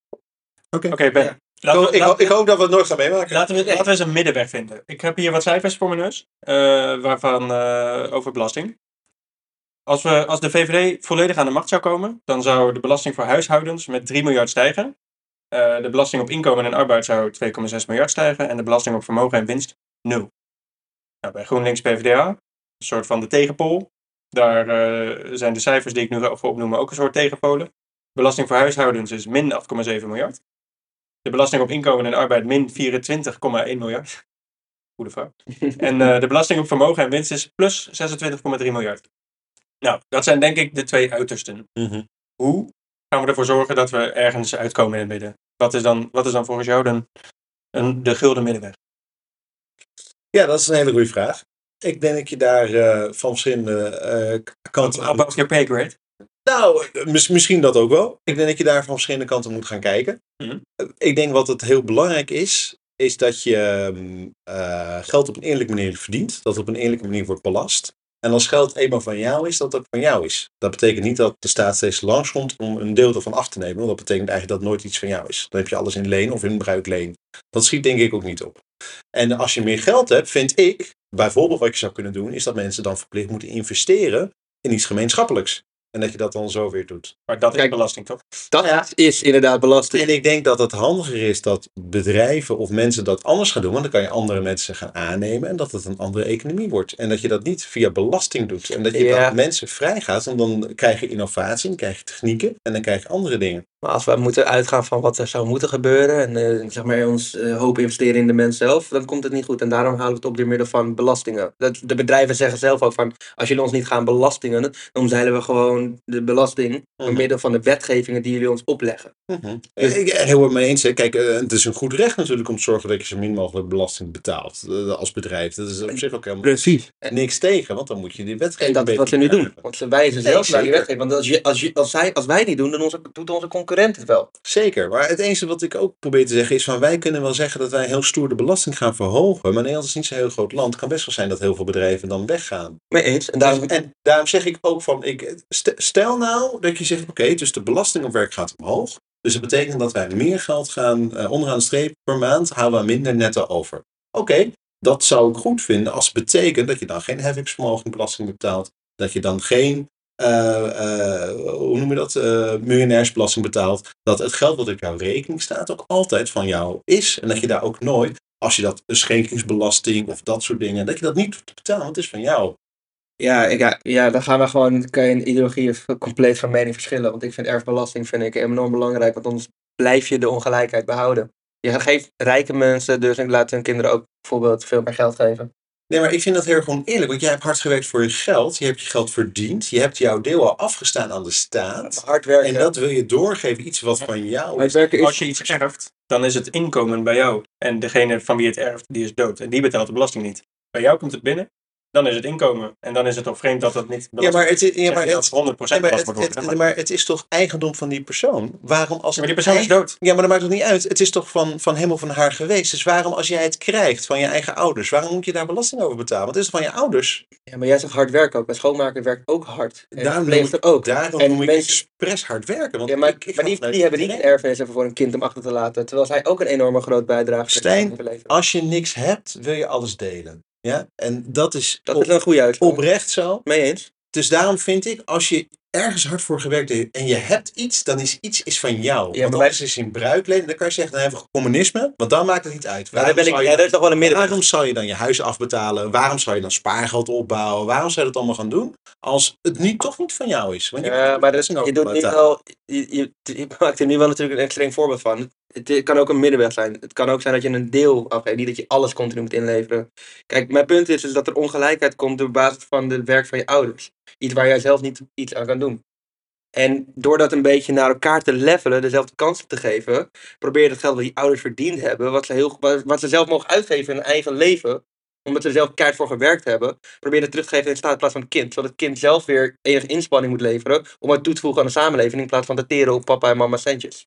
Oké, Ben. Ja. Laten we, ik, ho- laten, ik hoop dat we het nooit gaan meemaken. laten we, laten we eens een middenweg vinden. Ik heb hier wat cijfers voor mijn neus. eh, waarvan, eh, over belasting. Als, we, als de VVD volledig aan de macht zou komen, dan zou de belasting voor huishoudens met 3 miljard stijgen. Eh, de belasting op inkomen en arbeid zou 2,6 miljard stijgen. En de belasting op vermogen en winst 0. Nou, bij GroenLinks PvdA, een soort van de tegenpool. Daar eh, zijn de cijfers die ik nu ga opnoemen ook een soort tegenpolen. Belasting voor huishoudens is min 8,7 miljard. De belasting op inkomen en arbeid min 24,1 miljard. Goede vraag. En eh, de belasting op vermogen en winst is plus 26,3 miljard. Nou, dat zijn denk ik de twee uitersten. Mhm. Hoe gaan we ervoor zorgen dat we ergens uitkomen in het midden? Wat is dan, wat is dan volgens jou dan een, de gulden middenweg? Ja, dat is een hele goede vraag. Ik denk dat je daar eh, van verschillende eh, k- kanten aan Above your pay grade? Nou, mis- misschien dat ook wel. Ik denk dat je daar van verschillende kanten moet gaan kijken. Mhm. Eh, Ik denk wat het heel belangrijk is, is dat je mm, eh, geld op een eerlijke manier verdient. Dat het op een eerlijke manier wordt belast. En als geld eenmaal van jou is, dat het van jou is. Dat betekent niet dat de staat steeds langskomt om een deel ervan af te nemen. Want dat betekent eigenlijk dat nooit iets van jou is. Dan heb je alles in leen of in bruikleen. Dat schiet denk ik ook niet op. En als je meer geld hebt, vind ik, bijvoorbeeld wat je zou kunnen doen, is dat mensen dan verplicht moeten investeren in iets gemeenschappelijks. En dat je dat dan zo weer doet. Maar dat is Kijk, belasting, toch? Dat is inderdaad belasting. En ik denk dat het handiger is dat bedrijven of mensen dat anders gaan doen. Want dan kan je andere mensen gaan aannemen. En dat het een andere economie wordt. En dat je dat niet via belasting doet. En dat je Ja. dat mensen vrijgaat. En dan krijg je innovatie, dan krijg je technieken. En dan krijg je andere dingen. Maar als we moeten uitgaan van wat er zou moeten gebeuren en eh, zeg maar ons eh, hoop investeren in de mens zelf, dan komt het niet goed. En daarom halen we het op door middel van belastingen. Dat, de bedrijven zeggen zelf ook van, als jullie ons niet gaan belastingen, dan omzeilen we gewoon de belasting door Mhm. middel van de wetgevingen die jullie ons opleggen. Dus ik ik- heel erg mee eens. Hè. Kijk, eh, het is een goed recht natuurlijk om te zorgen dat je zo min mogelijk belasting betaalt eh, als bedrijf. Dat is op zich ook helemaal Precies. niks tegen, want dan moet je die wetgeving En dat is beter wat ze nu doen. begrijpen. Want ze wijzen Nee, zelf naar zeker. die wetgeving. Want als, je, als, je, als, zij, als wij niet doen, dan onze, doet onze concurrent het wel. Zeker, maar het enige wat ik ook probeer te zeggen is van wij kunnen wel zeggen dat wij heel stoer de belasting gaan verhogen. Maar Nederland is niet zo'n heel groot land. Het kan best wel zijn dat heel veel bedrijven dan weggaan. Mee eens. En daarom, Dus- en daarom zeg ik ook van, ik, st- stel nou dat je zegt, oké, dus de belasting op werk gaat omhoog. Dus dat betekent dat wij meer geld gaan, eh, onderaan de streep per maand, halen we minder netto over. Oké, dat zou ik goed vinden als het betekent dat je dan geen heffingsvermogenbelasting betaalt. Dat je dan geen, eh, eh, hoe noem je dat, eh, miljonairsbelasting betaalt. Dat het geld wat op jouw rekening staat ook altijd van jou is. En dat je daar ook nooit, als je dat schenkingsbelasting of dat soort dingen, dat je dat niet hoeft te betalen, want het is van jou. Ja, ik, ja, ja, dan gaan we gewoon kan je in ideologie v- compleet van mening verschillen. Want ik vind erfbelasting vind ik enorm belangrijk, want anders blijf je de ongelijkheid behouden. Je geeft rijke mensen dus en laat hun kinderen ook bijvoorbeeld veel meer geld geven. Nee, maar ik vind dat heel erg oneerlijk. Want jij hebt hard gewerkt voor je geld. Je hebt je geld verdiend. Je hebt jouw deel al afgestaan aan de staat. Hard werken. En dat wil je doorgeven. Iets wat van jou hard is. werken Als is je iets erft, dan is het inkomen bij jou. En degene van wie het erft, die is dood. En die betaalt de belasting niet. Bij jou komt het binnen, dan is het inkomen. En dan is het toch vreemd dat dat niet belast Ja, maar het is, ja, maar het, wordt. 100% nee, belast maar, wordt. het, het- hè, nee, maar- maar het is toch eigendom van die persoon? Waarom als Ja, maar die persoon is eigen- dood. Ja, maar dat maakt toch niet uit. Het is toch van, van hem of van haar geweest. Dus waarom als jij het krijgt van je eigen ouders, waarom moet je daar belasting over betalen? Want het is van je ouders. Ja, maar jij zegt hard werken ook. Mijn schoonmaker werkt ook hard. En Daarom verpleegster ook. Daarom En moet je mensen- expres hard werken. Want ja, maar, ik- ik maar ga die, vanuit die hebben niet een iedereen. erfenis even voor een kind om achter te laten. Terwijl zij ook een enorme groot bijdrage Stijn, leveren. Als je niks hebt, wil je alles delen. Ja? En dat is, Dat op- is een goede uitspraak. oprecht zo. Mee eens? Dus daarom vind ik, als je ergens hard voor gewerkt hebt en je hebt iets, dan is iets is van jou. maar want wij- anders is het in bruikleen. Dan kan je zeggen, dan hebben we communisme. Want dan maakt het niet uit. Ja, daar Waarom, ben ik, zou, ja, je, dat is toch wel een midden. waarom zou je dan je huis afbetalen? Waarom zou je dan spaargeld opbouwen? Waarom zou je dat allemaal gaan doen? Als het niet, toch niet van jou is. Want je Ja, Eh, maar dat, een je, doet nu overbetaling. wel, je, je, je maakt er nu wel natuurlijk een extreem voorbeeld van. Het, het kan ook een middenweg zijn. Het kan ook zijn dat je een deel afgeeft, niet dat je alles continu moet inleveren. Kijk, mijn punt is, is dat er ongelijkheid komt door basis van het werk van je ouders. Iets waar jij zelf niet iets aan kan doen. En door dat een beetje naar elkaar te levelen, dezelfde kansen te geven, probeer je dat geld dat die ouders verdiend hebben, wat ze, heel, wat, wat ze zelf mogen uitgeven in hun eigen leven, omdat ze er zelf keihard voor gewerkt hebben, probeer dat terug te geven in staat in plaats van het kind. Zodat het kind zelf weer enige inspanning moet leveren om het toe te voegen aan de samenleving in plaats van te teren op papa en mama centjes.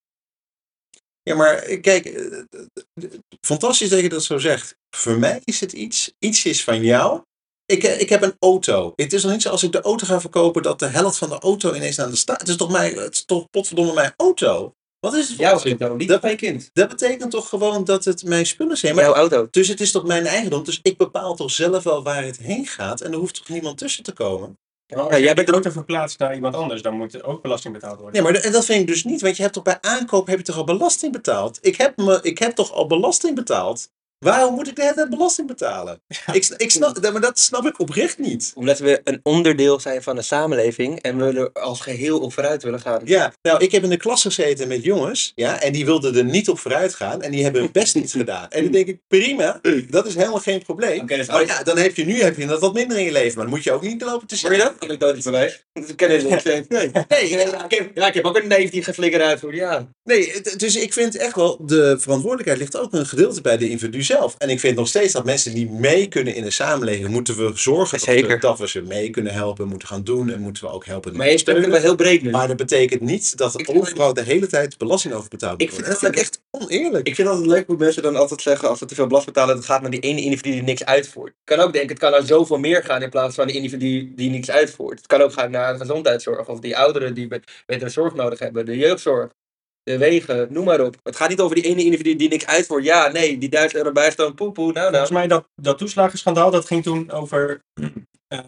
Ja, maar eh, kijk, eh, eh, eh, fantastisch dat je dat zo zegt. Voor mij is het iets, iets is van jou. Ik, eh, ik heb een auto. Het is nog niet zo als ik de auto ga verkopen dat de helft van de auto ineens aan de staat. Het is toch, mijn, het is toch potverdomme mijn auto? Wat is het voor onzin? dan niet Dat- van je kind. Dat betekent toch gewoon dat het mijn spullen zijn. Maar, Jouw auto. Dus het is toch mijn eigendom. Dus ik bepaal toch zelf wel waar het heen gaat. En er hoeft toch niemand tussen te komen. Maar als Ja, jij jij bent bent de auto verplaatst naar iemand anders, dan moet er ook belasting betaald worden. Nee, maar de- en dat vind ik dus niet. Want je hebt toch bij aankoop heb je toch al belasting betaald? Ik heb, me, ik heb toch al belasting betaald? Waarom moet ik de hele tijd belasting betalen? Ik, sn- ik snap, dat- maar dat snap ik oprecht niet. Omdat we een onderdeel zijn van de samenleving en we er als geheel op vooruit willen gaan. Ja, nou, ik heb in de klas gezeten met jongens, ja, en die wilden er niet op vooruit gaan en die hebben hun best niet gedaan. En dan denk ik, prima, dat is helemaal geen probleem. Oké, dus maar ja, dan heb je nu heb je dat wat minder in je leven, maar dan moet je ook niet lopen te Hoor je zeggen. dat? Anekdotisch bewijs. Dat kennen ze niet. Nee. Nee, ja, ik heb- ja, ik heb ook een neef die geflikkerd uitvoert, ja. Nee, het- dus ik vind echt wel, de verantwoordelijkheid ligt ook een gedeelte bij de individu zelf. En ik vind nog steeds dat mensen die mee kunnen in de samenleving, moeten we zorgen dat, we, Zeker. dat we ze mee kunnen helpen, moeten gaan doen en moeten we ook helpen. Maar eens kunnen we heel breed nu. Maar dat betekent niet dat er Ik- overal de hele tijd belasting over betaald moet Ik worden. vind Dat het- vind ik echt oneerlijk. Ik vind altijd leuk hoe mensen dan altijd zeggen als ze te veel belast betalen, dat gaat naar die ene individu die niks uitvoert. Ik kan ook denken, het kan naar zoveel meer gaan in plaats van de individu die niks uitvoert. Het kan ook gaan naar de gezondheidszorg of die ouderen die be- betere zorg nodig hebben, de jeugdzorg, de wegen, noem maar op. Het gaat niet over die ene individu die niks uitvoert. Ja, nee, die duizend euro bijstand, poepoe, nou nou. Volgens mij dat, dat toeslagenschandaal, dat ging toen over eh,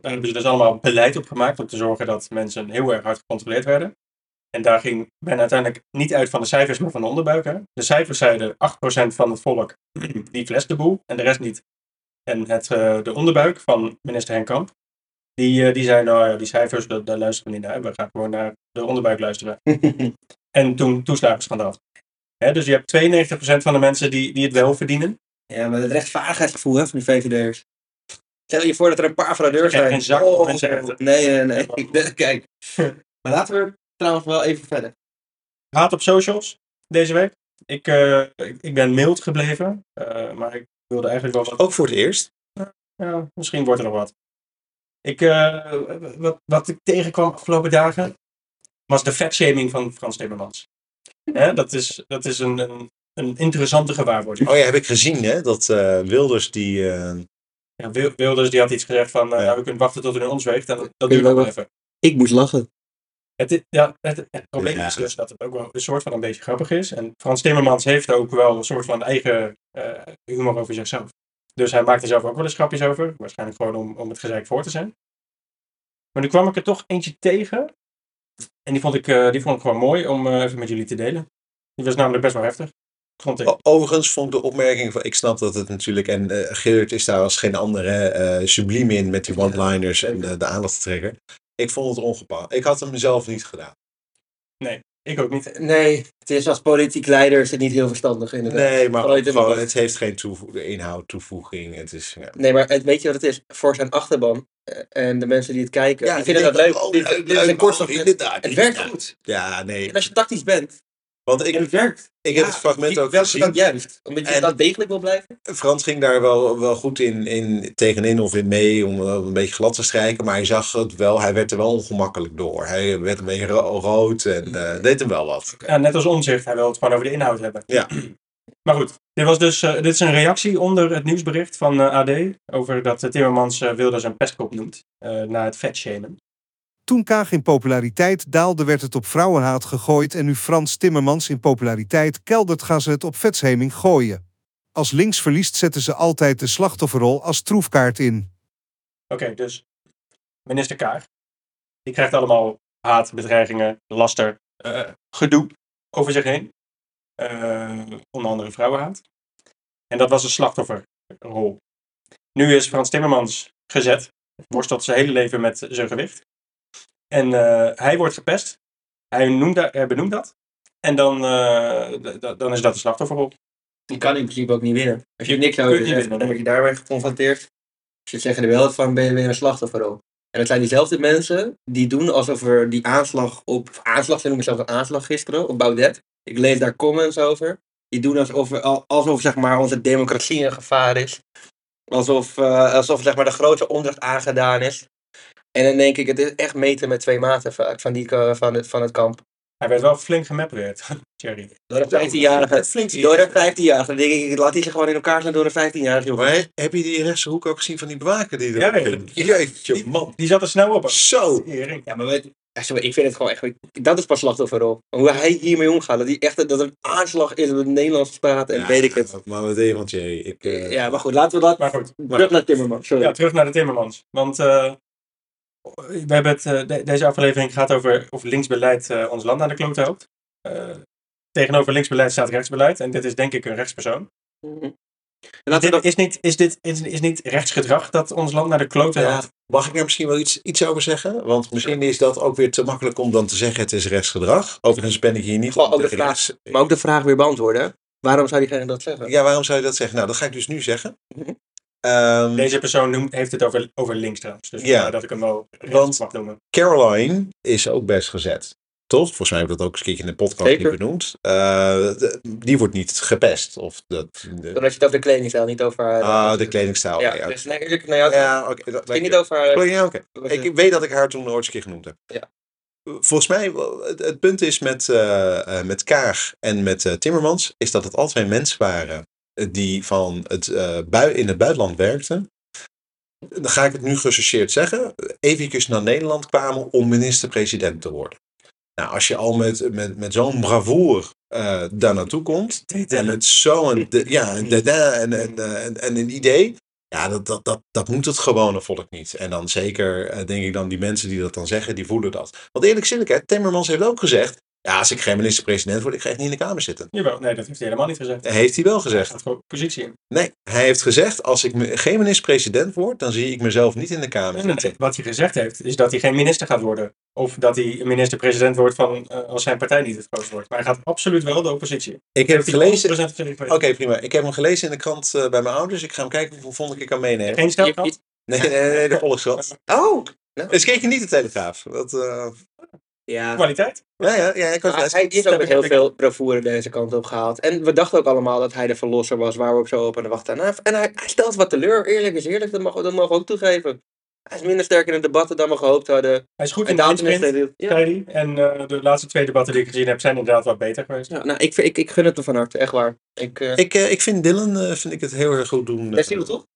Daar hebben ze dus allemaal beleid op gemaakt om te zorgen dat mensen heel erg hard gecontroleerd werden. En daar ging men uiteindelijk niet uit van de cijfers, maar van de onderbuik. Hè? De cijfers zeiden 8% van het volk die fles de boel en de rest niet. En het, eh, de onderbuik van minister Henk Kamp, die, eh, die zei nou ja, die cijfers, dat, daar luisteren we niet naar. We gaan gewoon naar de onderbuik luisteren. en toen toeslagenschandaal. Hè, dus je hebt 92% van de mensen die, die het wel verdienen. Ja, maar het rechtvaardigheidsgevoel hè, van die VVD'ers. Stel je voor dat er een paar Echt fraudeurs zijn. geen zak Oh, mensen echt. nee, nee, nee. Ik ben- Kijk. Maar laten we trouwens wel even verder. Haat op socials deze week. Ik, eh, ik, ik ben mild gebleven, eh, maar ik wilde eigenlijk wel wat Ook voor het eerst. Ja, misschien wordt er nog wat. Ik, eh, wat, wat ik tegenkwam afgelopen dagen was de vetshaming van Frans Timmermans. Hè, dat is, dat is een, een, een interessante gewaarwording. Oh ja, heb ik gezien hè, dat eh, Wilders die... eh, Ja, Wil- Wilders die had iets gezegd van, eh, Ja. nou, we kunnen wachten tot u naar ons weegt. En dat duurt nog wel even. Ik moest lachen. Het, i- ja, het, het probleem Ja. is dus dat het ook wel een soort van een beetje grappig is. En Frans Timmermans heeft ook wel een soort van eigen eh, humor over zichzelf. Dus hij maakt er zelf ook wel eens grapjes over. Waarschijnlijk gewoon om, om het gezeik voor te zijn. Maar nu kwam ik er toch eentje tegen. En die vond ik, eh, die vond ik gewoon mooi om eh, even met jullie te delen. Die was namelijk best wel heftig. Vond ik. O- Overigens vond ik de opmerking van, ik snap dat het natuurlijk, en eh Geert is daar als geen andere eh subliem in met die one-liners en de, de aandacht trekken. Ik vond het ongepast. Ik had hem zelf niet gedaan. Ik ook niet. Nee, het is als politiek leider is het niet heel verstandig inderdaad. Nee, maar Vanuit gewoon, Timmermans. het heeft geen toevo- inhoud, toevoeging. Het is, ja. Nee, maar het, weet je wat het is? Voor zijn achterban eh, en de mensen die het kijken. die vinden ik dat denk, leuk. oh, dit, dit is een leuk, kortstop. oh, Het, inderdaad, het werkt inderdaad. goed. Ja, nee. En als je tactisch bent, Want en ik, het werkt. ik Ja, heb het fragment die- ook welke kant gezien. juist? Omdat je En- dat degelijk wil blijven? Frans ging daar wel, wel goed in, in tegenin of in mee om wel een beetje glad te strijken. Maar hij zag het wel, hij werd er wel ongemakkelijk door. Hij werd een beetje ro- rood en Mm. eh, deed hem wel wat. Ja, net als onzicht, hij wil het gewoon over de inhoud hebben. Ja. Maar goed, dit, was dus, eh, dit is een reactie onder het nieuwsbericht van eh, AD over dat eh, Timmermans eh, Wilders een pestkop noemt eh, na het vetshamen. Toen Kaag in populariteit daalde, werd het op vrouwenhaat gegooid. En nu Frans Timmermans in populariteit keldert, gaan ze het op vetsheming gooien. Als links verliest, zetten ze altijd de slachtofferrol als troefkaart in. Oké, dus minister Kaag, die krijgt allemaal haat, bedreigingen, laster, eh, gedoe over zich heen. Eh, onder andere vrouwenhaat. En dat was een slachtofferrol. Nu is Frans Timmermans gezet, worstelt zijn hele leven met zijn gewicht. En eh, hij wordt gepest, hij, noemt da- hij benoemt dat. En dan, eh, d- d- dan is dat de slachtofferrol. Je kan in principe ook niet winnen. Als je niks Kun over je zegt, winnen, nee. dan word je daarbij geconfronteerd. Als je zeggen er wel wat van, ben je weer een slachtoffer ook. En dat zijn diezelfde mensen die doen alsof er die aanslag op... of Aanslag, ze noemen zelfs een aanslag gisteren op Baudet. Ik lees daar comments over. Die doen alsof, we- al- alsof zeg maar, onze democratie in gevaar is. Alsof, eh, alsof zeg maar, de grote onrecht aangedaan is. En dan denk ik, het is echt meten met twee maten vaak van, die, eh, van, het, van het kamp. Hij werd wel flink gemapweerd, Thierry. Door een 15-jarige. Flink die- Door een 15-jarige. Dan denk ik, laat die zich gewoon in elkaar slaan door een 15-jarige. joh. Maar he- heb je die rechtse hoek ook gezien van die bewaker die Ja, er? ja. Jeetje, man. Die zat er snel op. Zo. Tering. Ja, maar weet, ja, sorry, ik vind het gewoon echt. Dat is pas slachtofferrol. Hoe hij hiermee omgaat. Dat, hij echt, dat er een aanslag is op het Nederlands straat en Ja, weet ik het. Maar wat deed je, want Jerry? Ik, eh, Ja, maar goed, laten we dat. Maar goed. Terug naar Timmerman. Sorry. Ja, terug naar de Timmermans. Want eh, we hebben het, eh, de- deze aflevering gaat over of linksbeleid eh, ons land naar de klote helpt. Eh, tegenover linksbeleid staat rechtsbeleid. En dit is denk ik een rechtspersoon. Mhm. En laten we Dit dat. is, niet, is dit is, is niet rechtsgedrag dat ons land naar de klote ja, helpt? mag ik daar misschien wel iets, iets over zeggen? Want misschien is dat ook weer te makkelijk om dan te zeggen het is rechtsgedrag. Overigens ben ik hier niet Gewoon om ook de tegen vraag. rechts- oh, Maar ook de vraag weer beantwoorden. hè. Waarom zou diegene dat zeggen? Ja, waarom zou je dat zeggen? Nou, dat ga ik dus nu zeggen. Mhm. Ehm, Deze persoon noemt, heeft het over, over links trouwens. Dus Ja. vandaar dat ik hem wel rechts Want- mag noemen. Caroline is ook best gezet. Toch? Volgens mij hebben we dat ook eens een keertje in de podcast Zeker. niet benoemd. Eh, de- die wordt niet gepest. Of dat, de, Doordat je het over de kledingstijl, niet over haar. ah, de kledingstijl. Oh, Ja, ja, dus nee, ik, nou ja, Ja, oké. dat- het ging niet dat- over haar. Oh, ja, oké. was Ik het- weet dat ik haar toen ooit eens een keer genoemd heb. Eh, Ja. Volgens mij, het, het punt is met, eh, eh, met Kaag en met eh, Timmermans, is dat het al twee mensen waren eh, die van het, eh, bui in het buitenland werkten. Dan ga ik het nu geassocieerd zeggen. Even naar Nederland kwamen om minister-president te worden. Nou, als je al met, met, met zo'n bravoer eh, daar naartoe komt, en met zo'n de- ja, een dada en, en, eh, en, en een idee. Ja, dat, dat, dat, dat moet het gewone volk niet. En dan zeker, eh, denk ik dan, die mensen die dat dan zeggen, die voelen dat. Want eerlijk zinnigheid, Timmermans heeft ook gezegd... Ja, als ik geen minister-president word, ik ga echt niet in de Kamer zitten. Jawel, nee, dat heeft hij helemaal niet gezegd. Hij Heeft hij wel gezegd. gaat gewoon positie in. Nee, hij heeft gezegd, als ik me- geen minister-president word, dan zie ik mezelf niet in de Kamer Nee, nee, nee. zitten. Wat hij gezegd heeft, is dat hij geen minister gaat worden. Of dat hij minister-president wordt van, eh, als zijn partij niet het grootste wordt. Maar hij gaat absoluut wel de oppositie. in. Ik heb Heeft het hij gelezen... 100% gezegd, Oké, prima. Ik heb hem gelezen in de krant eh, bij mijn ouders. Ik ga hem kijken hoeveel volgende keer kan meenemen. Geen stelkant? Nee, nee, nee, de Volkskrant. Oh! Dus keek je niet de Telegraaf? Dat, eh, Ja, Kwaliteit? ja, ja, ja, ik was Maar hij is ook met heel veel bravoure deze kant op gehaald. En we dachten ook allemaal dat hij de verlosser was, waar we op zo op aan de wacht aan. En hij, hij stelt wat teleur, eerlijk is eerlijk, dat mogen dat mogen we ook toegeven. Hij is minder sterk in de debatten dan we gehoopt hadden. Hij is goed in En de daarom is eindprint, hij... Ja. zei hij. En eh, de laatste twee debatten die ik gezien heb, zijn inderdaad wat beter geweest. Ja, nou, ik, ik, ik gun het hem van harte, echt waar. Ik, eh Ik, eh, ik vind Dylan eh, vind ik het heel erg goed doen. Daar zien we toch?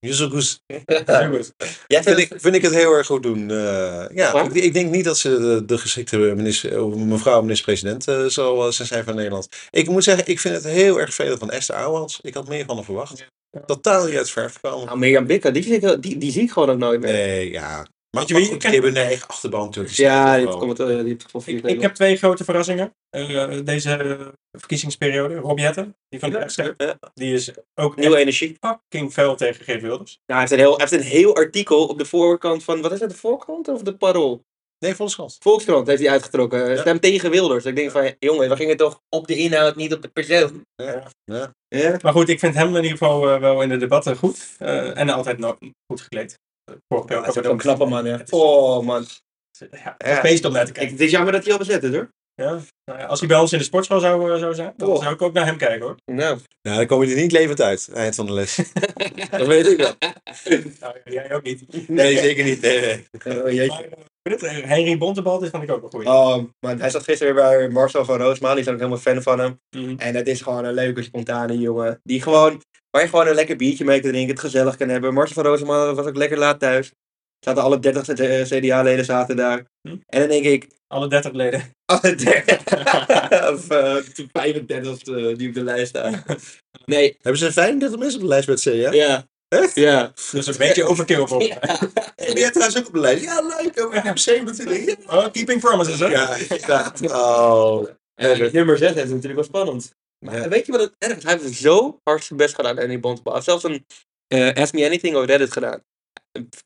Yuzukus. Heel goed. Jij Vind ik, vind ik het heel erg goed doen. eh, ja, Waar? ik, ik denk niet dat ze de, de geschikte minister, of mevrouw minister-president eh, zal eh, zijn van Nederland. Ik moet zeggen, ik vind het heel erg veel van Esther Ouwans. Ik had meer van haar verwacht. Totaal niet uit het verf gekomen. Nou, Mirjam Bikka, die, zie ik- die, die zie ik gewoon ook nooit meer. Nee, ja. Maar je je wie- goed, die hebben een eigen achterban natuurlijk. Die Ja, staat wel. die heeft commentaar- die heeft gevolgd. Oh. Ik, ik heb twee grote verrassingen eh, deze verkiezingsperiode. Rob Jetten, die van de rechter, die is ook eh, Nieuwe echt energie. fucking fel tegen Geert Wilders. Nou, hij, heeft een heel, hij heeft een heel artikel op de voorkant van, wat is dat, de voorkant of de parool? Nee, Volkskrant. Volkskrant heeft hij uitgetrokken. Ja. Stem tegen Wilders. Ik denk van, jongen, we gingen toch op de inhoud, niet op de persoon. Ja. Ja. Maar goed, ik vind hem in ieder geval eh, wel in de debatten goed. eh, en altijd no- goed gekleed. Eh, Vorige keer ook Dat is ook al een knappe man, Ja, hè. het is- Oh, man. ja, het is Ja. een feest om naar te kijken. Het is jammer dat hij al bezet is, hoor. Ja. Nou ja, als hij bij ons in de sportschool zou, eh, zou zijn, dan Oh. zou ik ook naar hem kijken hoor. Nou, Nou, dan kom je er niet levend uit. Eind van de les. dat weet ik wel. Nou, jij ook niet. Nee, zeker niet. Nee, nee. Oh, jeetje. Maar, eh, Henry Bontebal, dit vond ik ook een goeie. Oh, man. Hij zat gisteren weer bij Marcel van Roosma. Die is ook helemaal fan van hem. Mhm. En dat is gewoon een leuke, spontane jongen. Die gewoon, waar je gewoon een lekker biertje mee kan drinken. Het gezellig kan hebben. Marcel van Roosma was ook lekker laat thuis. Zaten alle 30 C- eh, CDA-leden zaten daar. Hm. En dan denk ik... Alle 30 leden. Alle 30. Oh, of eh, 35 of, eh, die op de lijst staan. Nee, Hebben ze 35 mensen op de lijst bij het CDA? ja. Echt? Ja. Dus een beetje overkill voor mij. En die had trouwens ook op de lijst. Ja, leuk. oh, Ik heb 27. Oh, keeping promises, hè? Ja, inderdaad. Oh. En nummer 6 is natuurlijk wel spannend. Maar Ja. weet je wat het erg is? Hij heeft zo hard zijn best gedaan en die bond. Hij heeft zelfs een eh, Ask Me Anything over Reddit gedaan.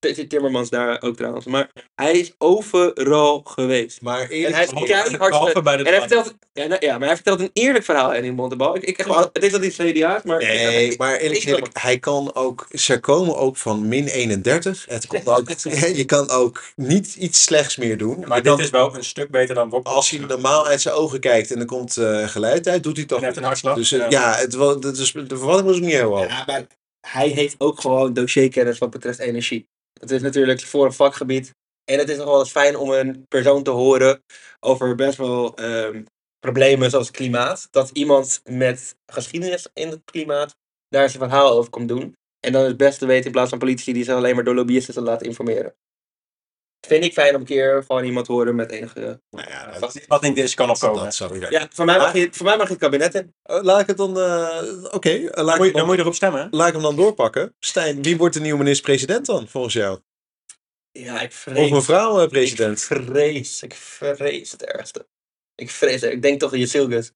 Eh, Timmermans daar ook trouwens. Maar hij is overal geweest. Maar En eerlijk hij is gezegd- keihard hard. Behalve bij de En hij debatten. vertelt, ja, nou, ja, maar hij vertelt een eerlijk verhaal in die Bontebal. Ik, ik, heb wel- het is dat hij CDA is, maar... Nee, maar eerlijk Ik- gezegd, hij kan ook, ze komen ook van min 31. Het komt ook, je kan ook niet iets slechts meer doen. Maar Je kan- dit is wel een stuk beter dan Wok. als hij normaal uit zijn ogen kijkt en er komt eh, geluid uit, doet hij En toch. hij heeft een hartslag. Dus eh, ja, het, wa- dat is, de verwachting was ook niet heel hoog. Ja, maar hij heeft ook gewoon dossierkennis wat betreft energie. Dat is natuurlijk voor een vakgebied. En het is nog wel eens fijn om een persoon te horen over best wel ehm, problemen zoals klimaat. Dat iemand met geschiedenis in het klimaat daar zijn verhaal over komt doen. En dan het beste weten in plaats van politici die zich alleen maar door lobbyisten te laten informeren. Vind ik fijn om een keer gewoon iemand te horen met enige... Ah. Nou ja, dat- Wat- Wat niet is, kan nog komen. dat zou ik Ja, voor mij mag je, voor mij mag je het kabinet in. Eh, Laat ik het dan, eh, oké, eh, laat, Dan moet, ik je, het dan dan- moet je erop stemmen, hè? laat ik hem dan doorpakken. Stijn, wie wordt de nieuwe minister-president dan, volgens jou? Ja, ik vrees... Of mevrouw eh, president? Ik vrees, ik vrees het ergste. Ik vrees het. Ik denk toch Jezilgus.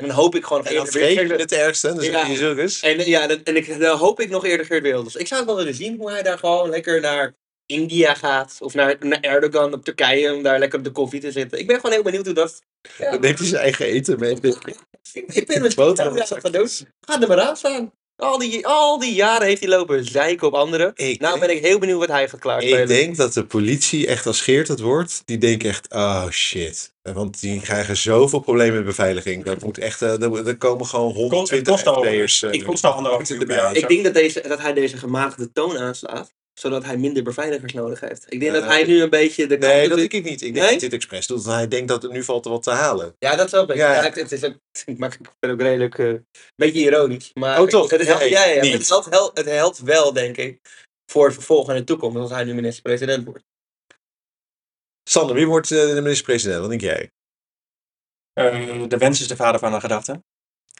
En dan hoop ik gewoon... En dan vrees je het ergste, dus Ja. je zult eens. en, ja, dan, en ik, dan hoop ik nog eerder Geert Wilders. Ik zou het wel willen zien hoe hij daar gewoon lekker naar India gaat. Of naar, naar Erdogan op Turkije om daar lekker op de koffie te zitten. Ik ben gewoon heel benieuwd hoe dat... Ja. Dan neemt hij zijn eigen eten mee. Ik, ik ben met Boterham. ja, van doen. Ga er maar aan staan. Al die, al die jaren heeft hij lopen zeiken op anderen. Ik, Nou ben ik heel benieuwd wat hij gaat klaarspelen. ik denk dat de politie echt als Geert het wordt, die denkt echt, oh shit. Want die krijgen zoveel problemen met beveiliging. Dat moet echt, eh, er, er komen gewoon Kost, het 120 kost al, FT'ers. eh, ik kost al anderhalf moeten uur per erbij. jaar. Ik denk dat, deze, dat hij deze gematigde toon aanslaat, zodat hij minder beveiligers nodig heeft. Ik denk dat hij nu een beetje de Nee, kant dat doet- denk ik niet. Ik denk Nee? dat dit expres doet. want hij denkt dat er nu valt er wat te halen. Ja, dat snap ik. Ja, Ja, ja. het- het is ook, maar ik ben ook redelijk eh, een beetje ironisch. Maar Oh, toch? Het, helpt, Nee, ja, ja, ja, niet. het, helpt, hel- het helpt wel, denk ik, voor het vervolg en de toekomst, als hij nu minister-president wordt. Sander, wie wordt eh, de minister-president? Wat denk jij? Ehm, Eh, de wens is de vader van de gedachte.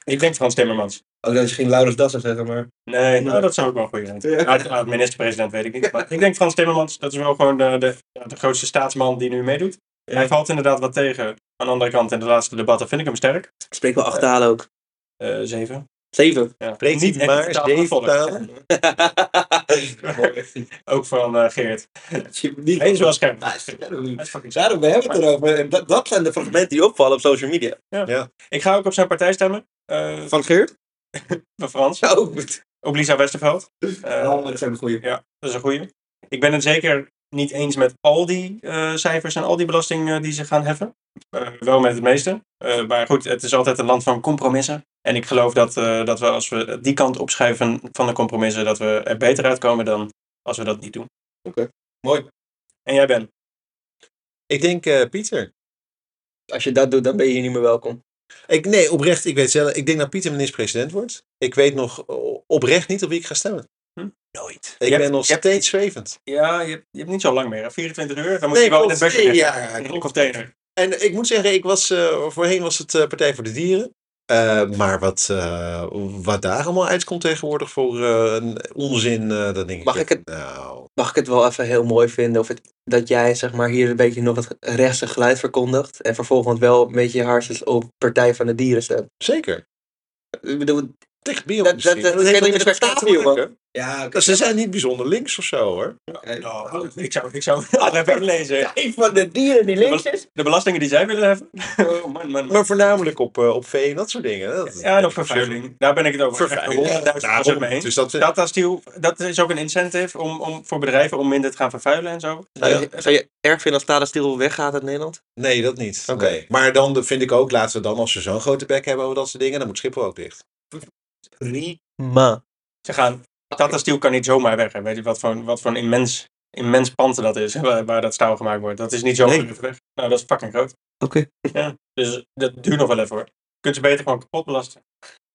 Ik denk Frans Timmermans. Ook dat je geen Laurens Dat zou zeggen, maar... Nee, nou, dat zou ook wel goed zijn. Ja. Ja, de- ah, minister-president weet ik niet. Maar ik denk Frans Timmermans, dat is wel gewoon de, de, ja, de grootste staatsman die nu meedoet. Hij valt inderdaad wat tegen. Aan de andere kant, in de laatste debatten vind ik hem sterk. Ik spreek wel acht talen ook. Eh, zeven. Zeven. Ja. Spreekt niet hij echt maar de taal zeven gevolgd. talen? Ook van eh, Geert. Hij is wel scherp. Hij is fucking scherp. Daarom, Ah, we hebben het erover. En dat, dat zijn de fragmenten die opvallen op social media. Ik ga ook op zijn partij stemmen. Eh, Van Geert? van Frans. Oh, goed. Op Lisa Westerveld. Eh, Oh, dat zijn de goeie. Ja, dat is een goeie. Ik ben het zeker niet eens met al die eh, cijfers en al die belastingen die ze gaan heffen. Eh, wel met het meeste. Eh, maar goed, het is altijd een land van compromissen. En ik geloof dat, eh, dat we als we die kant opschuiven van de compromissen, dat we er beter uitkomen dan als we dat niet doen. Oké, mooi. En jij Ben? Ik denk eh, Pieter. Als je dat doet, dan ben je hier niet meer welkom. Ik, nee, oprecht, ik weet zelf. Ik denk dat Pieter minister-president wordt. Ik weet nog o- oprecht niet op wie ik ga stemmen. Hm? Nooit. Je Ik hebt- ben nog je hebt- steeds zwevend. Ja, je, hebt- je hebt niet zo lang meer. hè? 24 uur, dan moet Nee, je wel in klopt. het busje Nee, liggen. ja, ja, in een klopt. container. En ik moet zeggen, ik was, eh, voorheen was het eh, Partij voor de Dieren. Eh, maar wat, eh, wat daar allemaal uitkomt tegenwoordig voor eh, een onzin, eh, dat denk Mag ik. ik het- Nou, Mag ik het wel even heel mooi vinden of het, dat jij zeg maar, hier een beetje nog het rechtse geluid verkondigt. En vervolgens wel een beetje je haarsjes op Partij van de Dieren stemt. zeker. Ik bedoel, Tegen dat, dat, bio-industrie. dat, dat heeft kan toch niet niks met met elkaar elkaar te maken? Nou, man. Ja, oké. Ze zijn niet bijzonder links of zo hoor. Oh, ik zou, ik zou even inlezen. eh, Een van de dieren die links is. De belastingen die zij willen heffen. Oh, man, man, man. Maar voornamelijk op, eh, op vee en dat soort dingen. Dat, Ja, en op vervuiling. Daar ben ik het over. Vervuiling. Echt 100.000% Daarom. mee eens. Dus dat, Datasteel, dat is ook een incentive om, om, voor bedrijven om minder te gaan vervuilen en zo. Zou je, zou je erg vinden als Tata Steel weggaat uit Nederland? nee, dat niet. Oké. Nee. Maar dan vind ik ook, laten we dan, als we zo'n grote bek hebben over dat soort dingen, dan moet Schiphol ook dicht. Prima. Ze gaan, Tata Steel kan niet zomaar weg. hè. Weet je wat voor, een- wat voor een immens, immens pand dat is, hè, waar, waar dat staal gemaakt wordt. Dat is niet zomaar Nee. even weg. Nou, dat is fucking groot. Oké. Ja, dus dat duurt nog wel even hoor. Kunt ze beter gewoon kapot belasten.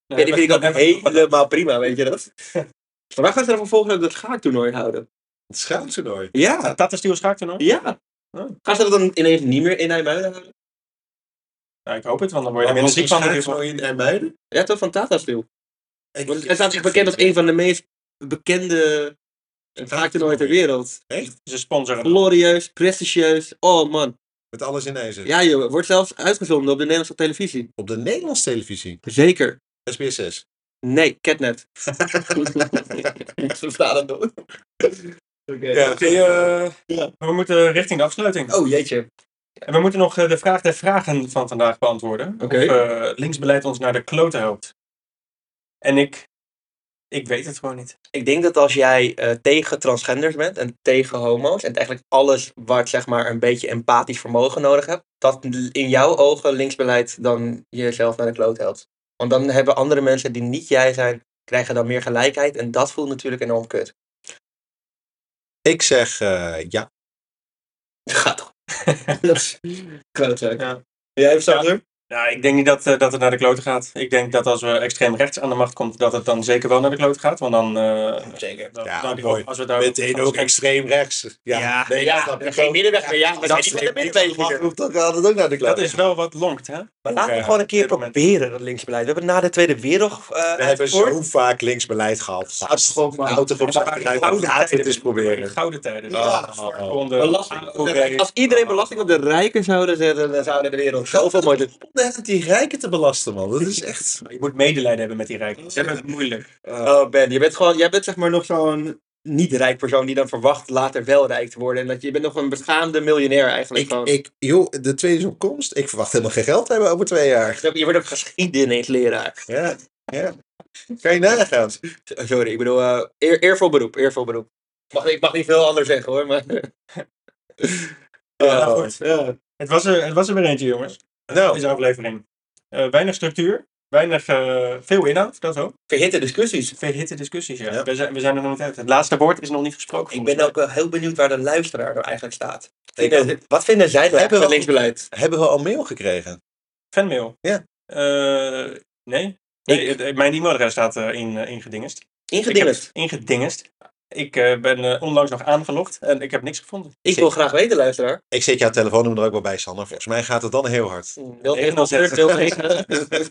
Ja, die vind ik ook dat- helemaal prima, weet je dat? Maar wij gaan ze dan vervolgens dat schaaktoernooi houden. Het schaamtoernooi. Ja, Tata Steel schaakt er nog? ja. Oh. Gaan ze dat dan ineens niet meer in IJmuiden houden? Nou, ik hoop het, want dan word je minder ziek van. natuurlijk. in Ermuiden? Ja, toch van Tata Steel. Want het staat echt bekend als een van de meest bekende schaaktoernooien ter wereld. Echt? Ze sponsoren het. Glorieus, prestigieus. Oh man. Met alles in ijzer. Ja joh, wordt zelfs uitgezonden op de Nederlandse televisie. Op de Nederlandse televisie. Zeker. SBS6. Nee, catnet. Ze slaan het door. Ja. Oké, eh, Ja. We moeten richting de afsluiting. Oh jeetje. En we moeten nog eh, de vraag der vragen van vandaag beantwoorden. Oké. Of eh, linksbeleid ons naar de klote helpt. En ik, ik weet het gewoon niet. Ik denk dat als jij eh, tegen transgenders bent en tegen homo's en eigenlijk alles wat zeg maar een beetje empathisch vermogen nodig hebt, dat in jouw ogen linksbeleid dan jezelf naar de kloot helpt. Want dan hebben andere mensen die niet jij zijn, krijgen dan meer gelijkheid en dat voelt natuurlijk enorm kut. Ik zeg eh, ja. Dat gaat toch? dat is klootzak. Ja. Jij hebt Sander? Nou, ik denk niet dat, eh, dat het naar de klote gaat. Ik denk dat als we extreem rechts aan de macht komt, dat het dan zeker wel naar de klote gaat. Want dan... eh, Zeker. dan- Ja, nou, die- mooi. Als we daar Meteen ook extreem rechts. Ja, nee, ja, dat snap ik geen ook. middenweg meer. Ja, we zijn dat niet met snap de ik. middenweg Dat hier. hoeft ook- had het ook naar de Dat kluis. is wel wat longt, hè? Maar laten we Ja, gewoon een keer op dit moment. proberen, dat linksbeleid. We hebben na de Tweede Wereldoorlog eh, We hebben uitgevoerd. zo vaak linksbeleid gehad. Als het gewoon auto op zijn rijdt, laten we het eens proberen. Oh. Gouden tijden. Ja. Vakbonden, Belasting. AOW. Als iedereen belasting op de rijken zouden zetten, dan zouden de wereld zoveel mooier doen. Net die rijken te belasten, man. Dat is echt... Je moet medelijden hebben met die rijken. Ze hebben het moeilijk. Oh Ben, je bent gewoon, jij bent zeg maar nog zo'n niet-rijk persoon die dan verwacht later wel rijk te worden. En dat je je bent nog een beschaamde miljonair eigenlijk Ik, gewoon. ik, joh, de tweede is op komst. Ik verwacht helemaal geen geld te hebben over twee jaar. Je wordt ook geschiedenisleraar. Ja, ja. Kan je nagaan. Sorry, ik bedoel, eh, eer, eervol beroep, eervol beroep. Mag, ik mag niet veel anders zeggen hoor, maar... Ja, Oh, goed. ja. Het was, er, het was er weer eentje, jongens. Nou. Deze aflevering. Eh, weinig structuur. Weinig, eh, veel inhoud, dat ook. Verhitte discussies. Verhitte discussies, ja. Ja. We, zijn, we zijn er nog niet uit. Het laatste woord is nog niet gesproken. Ik volgens ben ook wel heel benieuwd waar de luisteraar nou eigenlijk staat. Vinden- wat vinden zij Hebben nou eigenlijk we van al- linksbeleid? Hebben we al mail gekregen? mij. Fanmail. Ja. Eh, nee. nee het- Mijn e-mailadres staat eh, in, eh, ingedingest. Ingedingest. Ik heb ingedingest. Ik eh, ben eh, onlangs nog aangelogd en ik heb niks gevonden. Ik wil graag weten, luisteraar. Ik zet jouw Hmm, telefoonnummer er ook wel bij, Sander. Volgens mij gaat het dan heel hard. 0 0 0 0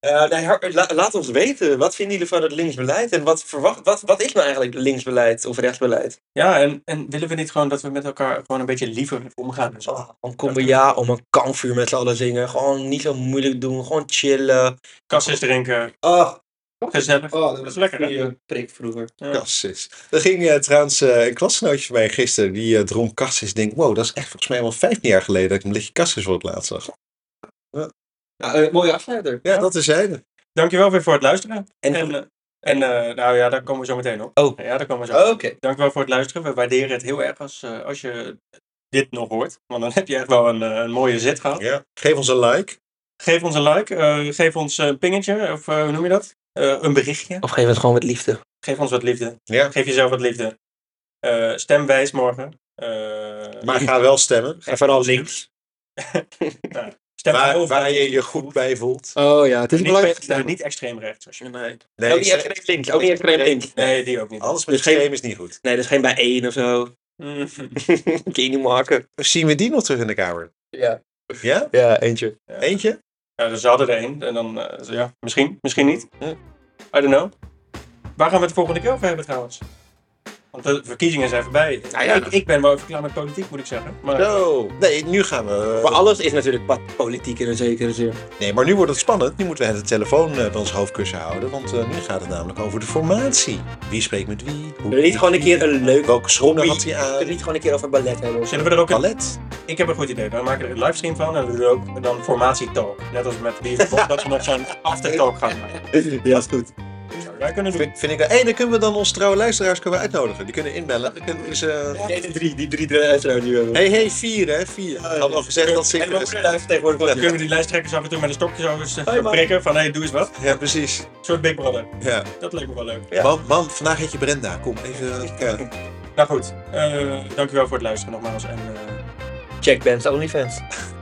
Eh, nee, har- la- laat ons weten, wat vinden jullie van het linksbeleid? En wat, verwacht, wat, wat is nou eigenlijk linksbeleid of rechtsbeleid? Ja, en, en willen we niet gewoon dat we met elkaar gewoon een beetje liever omgaan? Dus en zo? Oh, een kumbaya om een kampvuur met z'n allen zingen. Gewoon niet zo moeilijk doen, gewoon chillen. Kassis drinken, Oh, gezellig. oh dat was lekker, hè? een prik vroeger. Cassis. Oh, Er ging eh, trouwens eh, een klasgenootje van mij gisteren, die eh, dronk Cassis. Ik denk, wow, dat is echt volgens mij wel 15 jaar geleden dat ik een liedje Cassis voor het laatst zag. Nou, eh, mooie afsluiter. Ja, dat is hij. Dankjewel weer voor het luisteren. En, En, eh, en eh, nou ja, daar komen we zo meteen op. Oh. Ja, daar komen we zo. Oké. Dankjewel voor het luisteren. We waarderen het heel erg als, eh, als je dit nog hoort. Want dan heb je echt wel een, eh, een mooie zit gehad. Ja. Geef ons een like. Geef ons een like. eh, geef ons een pingetje. Of eh, hoe noem je dat? Eh, een berichtje. Of geef het gewoon met liefde. Geef ons wat liefde. Ja. Geef jezelf wat liefde. Eh, stem wijs morgen. Eh, Maar ga wel stemmen. En vooral links. stem Waar, over- waar je je goed bij voelt. Oh ja, het is Niet, belangrijk. nou, niet extreem rechts. Als je, nee. Nee, ook niet extreem links. Ook niet extreem links. nee, die ook niet. alles met extreem is niet goed. Nee, dat is geen bij één of zo. Mm. Kun je niet maken. Zien we die nog terug in de kamer? Ja. Ja? Ja, eentje. Eentje? Ja, dus ze hadden er één. En dan, eh, zo, ja, misschien, misschien niet. Eh, I don't know. Waar gaan we het volgende keer over hebben trouwens? Want de verkiezingen zijn voorbij. Nou ja. ik, ik ben wel even klaar met politiek, moet ik zeggen. Maar Zo. Nee, nu gaan we... Maar alles is natuurlijk wat politiek in een zekere zin. Nee, maar nu wordt het spannend. Nu moeten we de telefoon eh, bij ons hoofdkussen houden. Want eh, nu gaat het namelijk over de formatie. Wie spreekt met wie? Hoe... Wil je niet gewoon een keer een leuk... Welke schoenen Wie- had hij Kunnen we aan? niet gewoon een keer over ballet hebben? of zo? zullen we er ook een... Ballet. Ik heb een goed idee. We maken er een livestream van en we doen ook dan formatietalk. Net als met die dat we nog zo'n aftertalk gaan maken. Ja, is goed. Zou wij kunnen doen. Vind, vind ik dat. Hé, dan kunnen we dan onze trouwe luisteraars kunnen we uitnodigen. Die kunnen inbellen. Dan kunnen ze. Nee, de drie. Die drie luisteraars nu hebben. Hé, hé, vier, hè? Vier. Ik had al gezegd dat En we ze. luisteren tegenwoordig Kunnen we die lijsttrekkers af en toe met een stokje zo eens eh, Hoi, man. prikken? Van hé, hey, doe eens wat. Ja, precies. Een soort Big Brother. Ja. Dat lijkt me wel leuk. Ja. Man, man, vandaag heet je Brenda. Kom even. Ja. Nou goed, eh, dankjewel voor het luisteren nogmaals. En, eh, Check bands OnlyFans.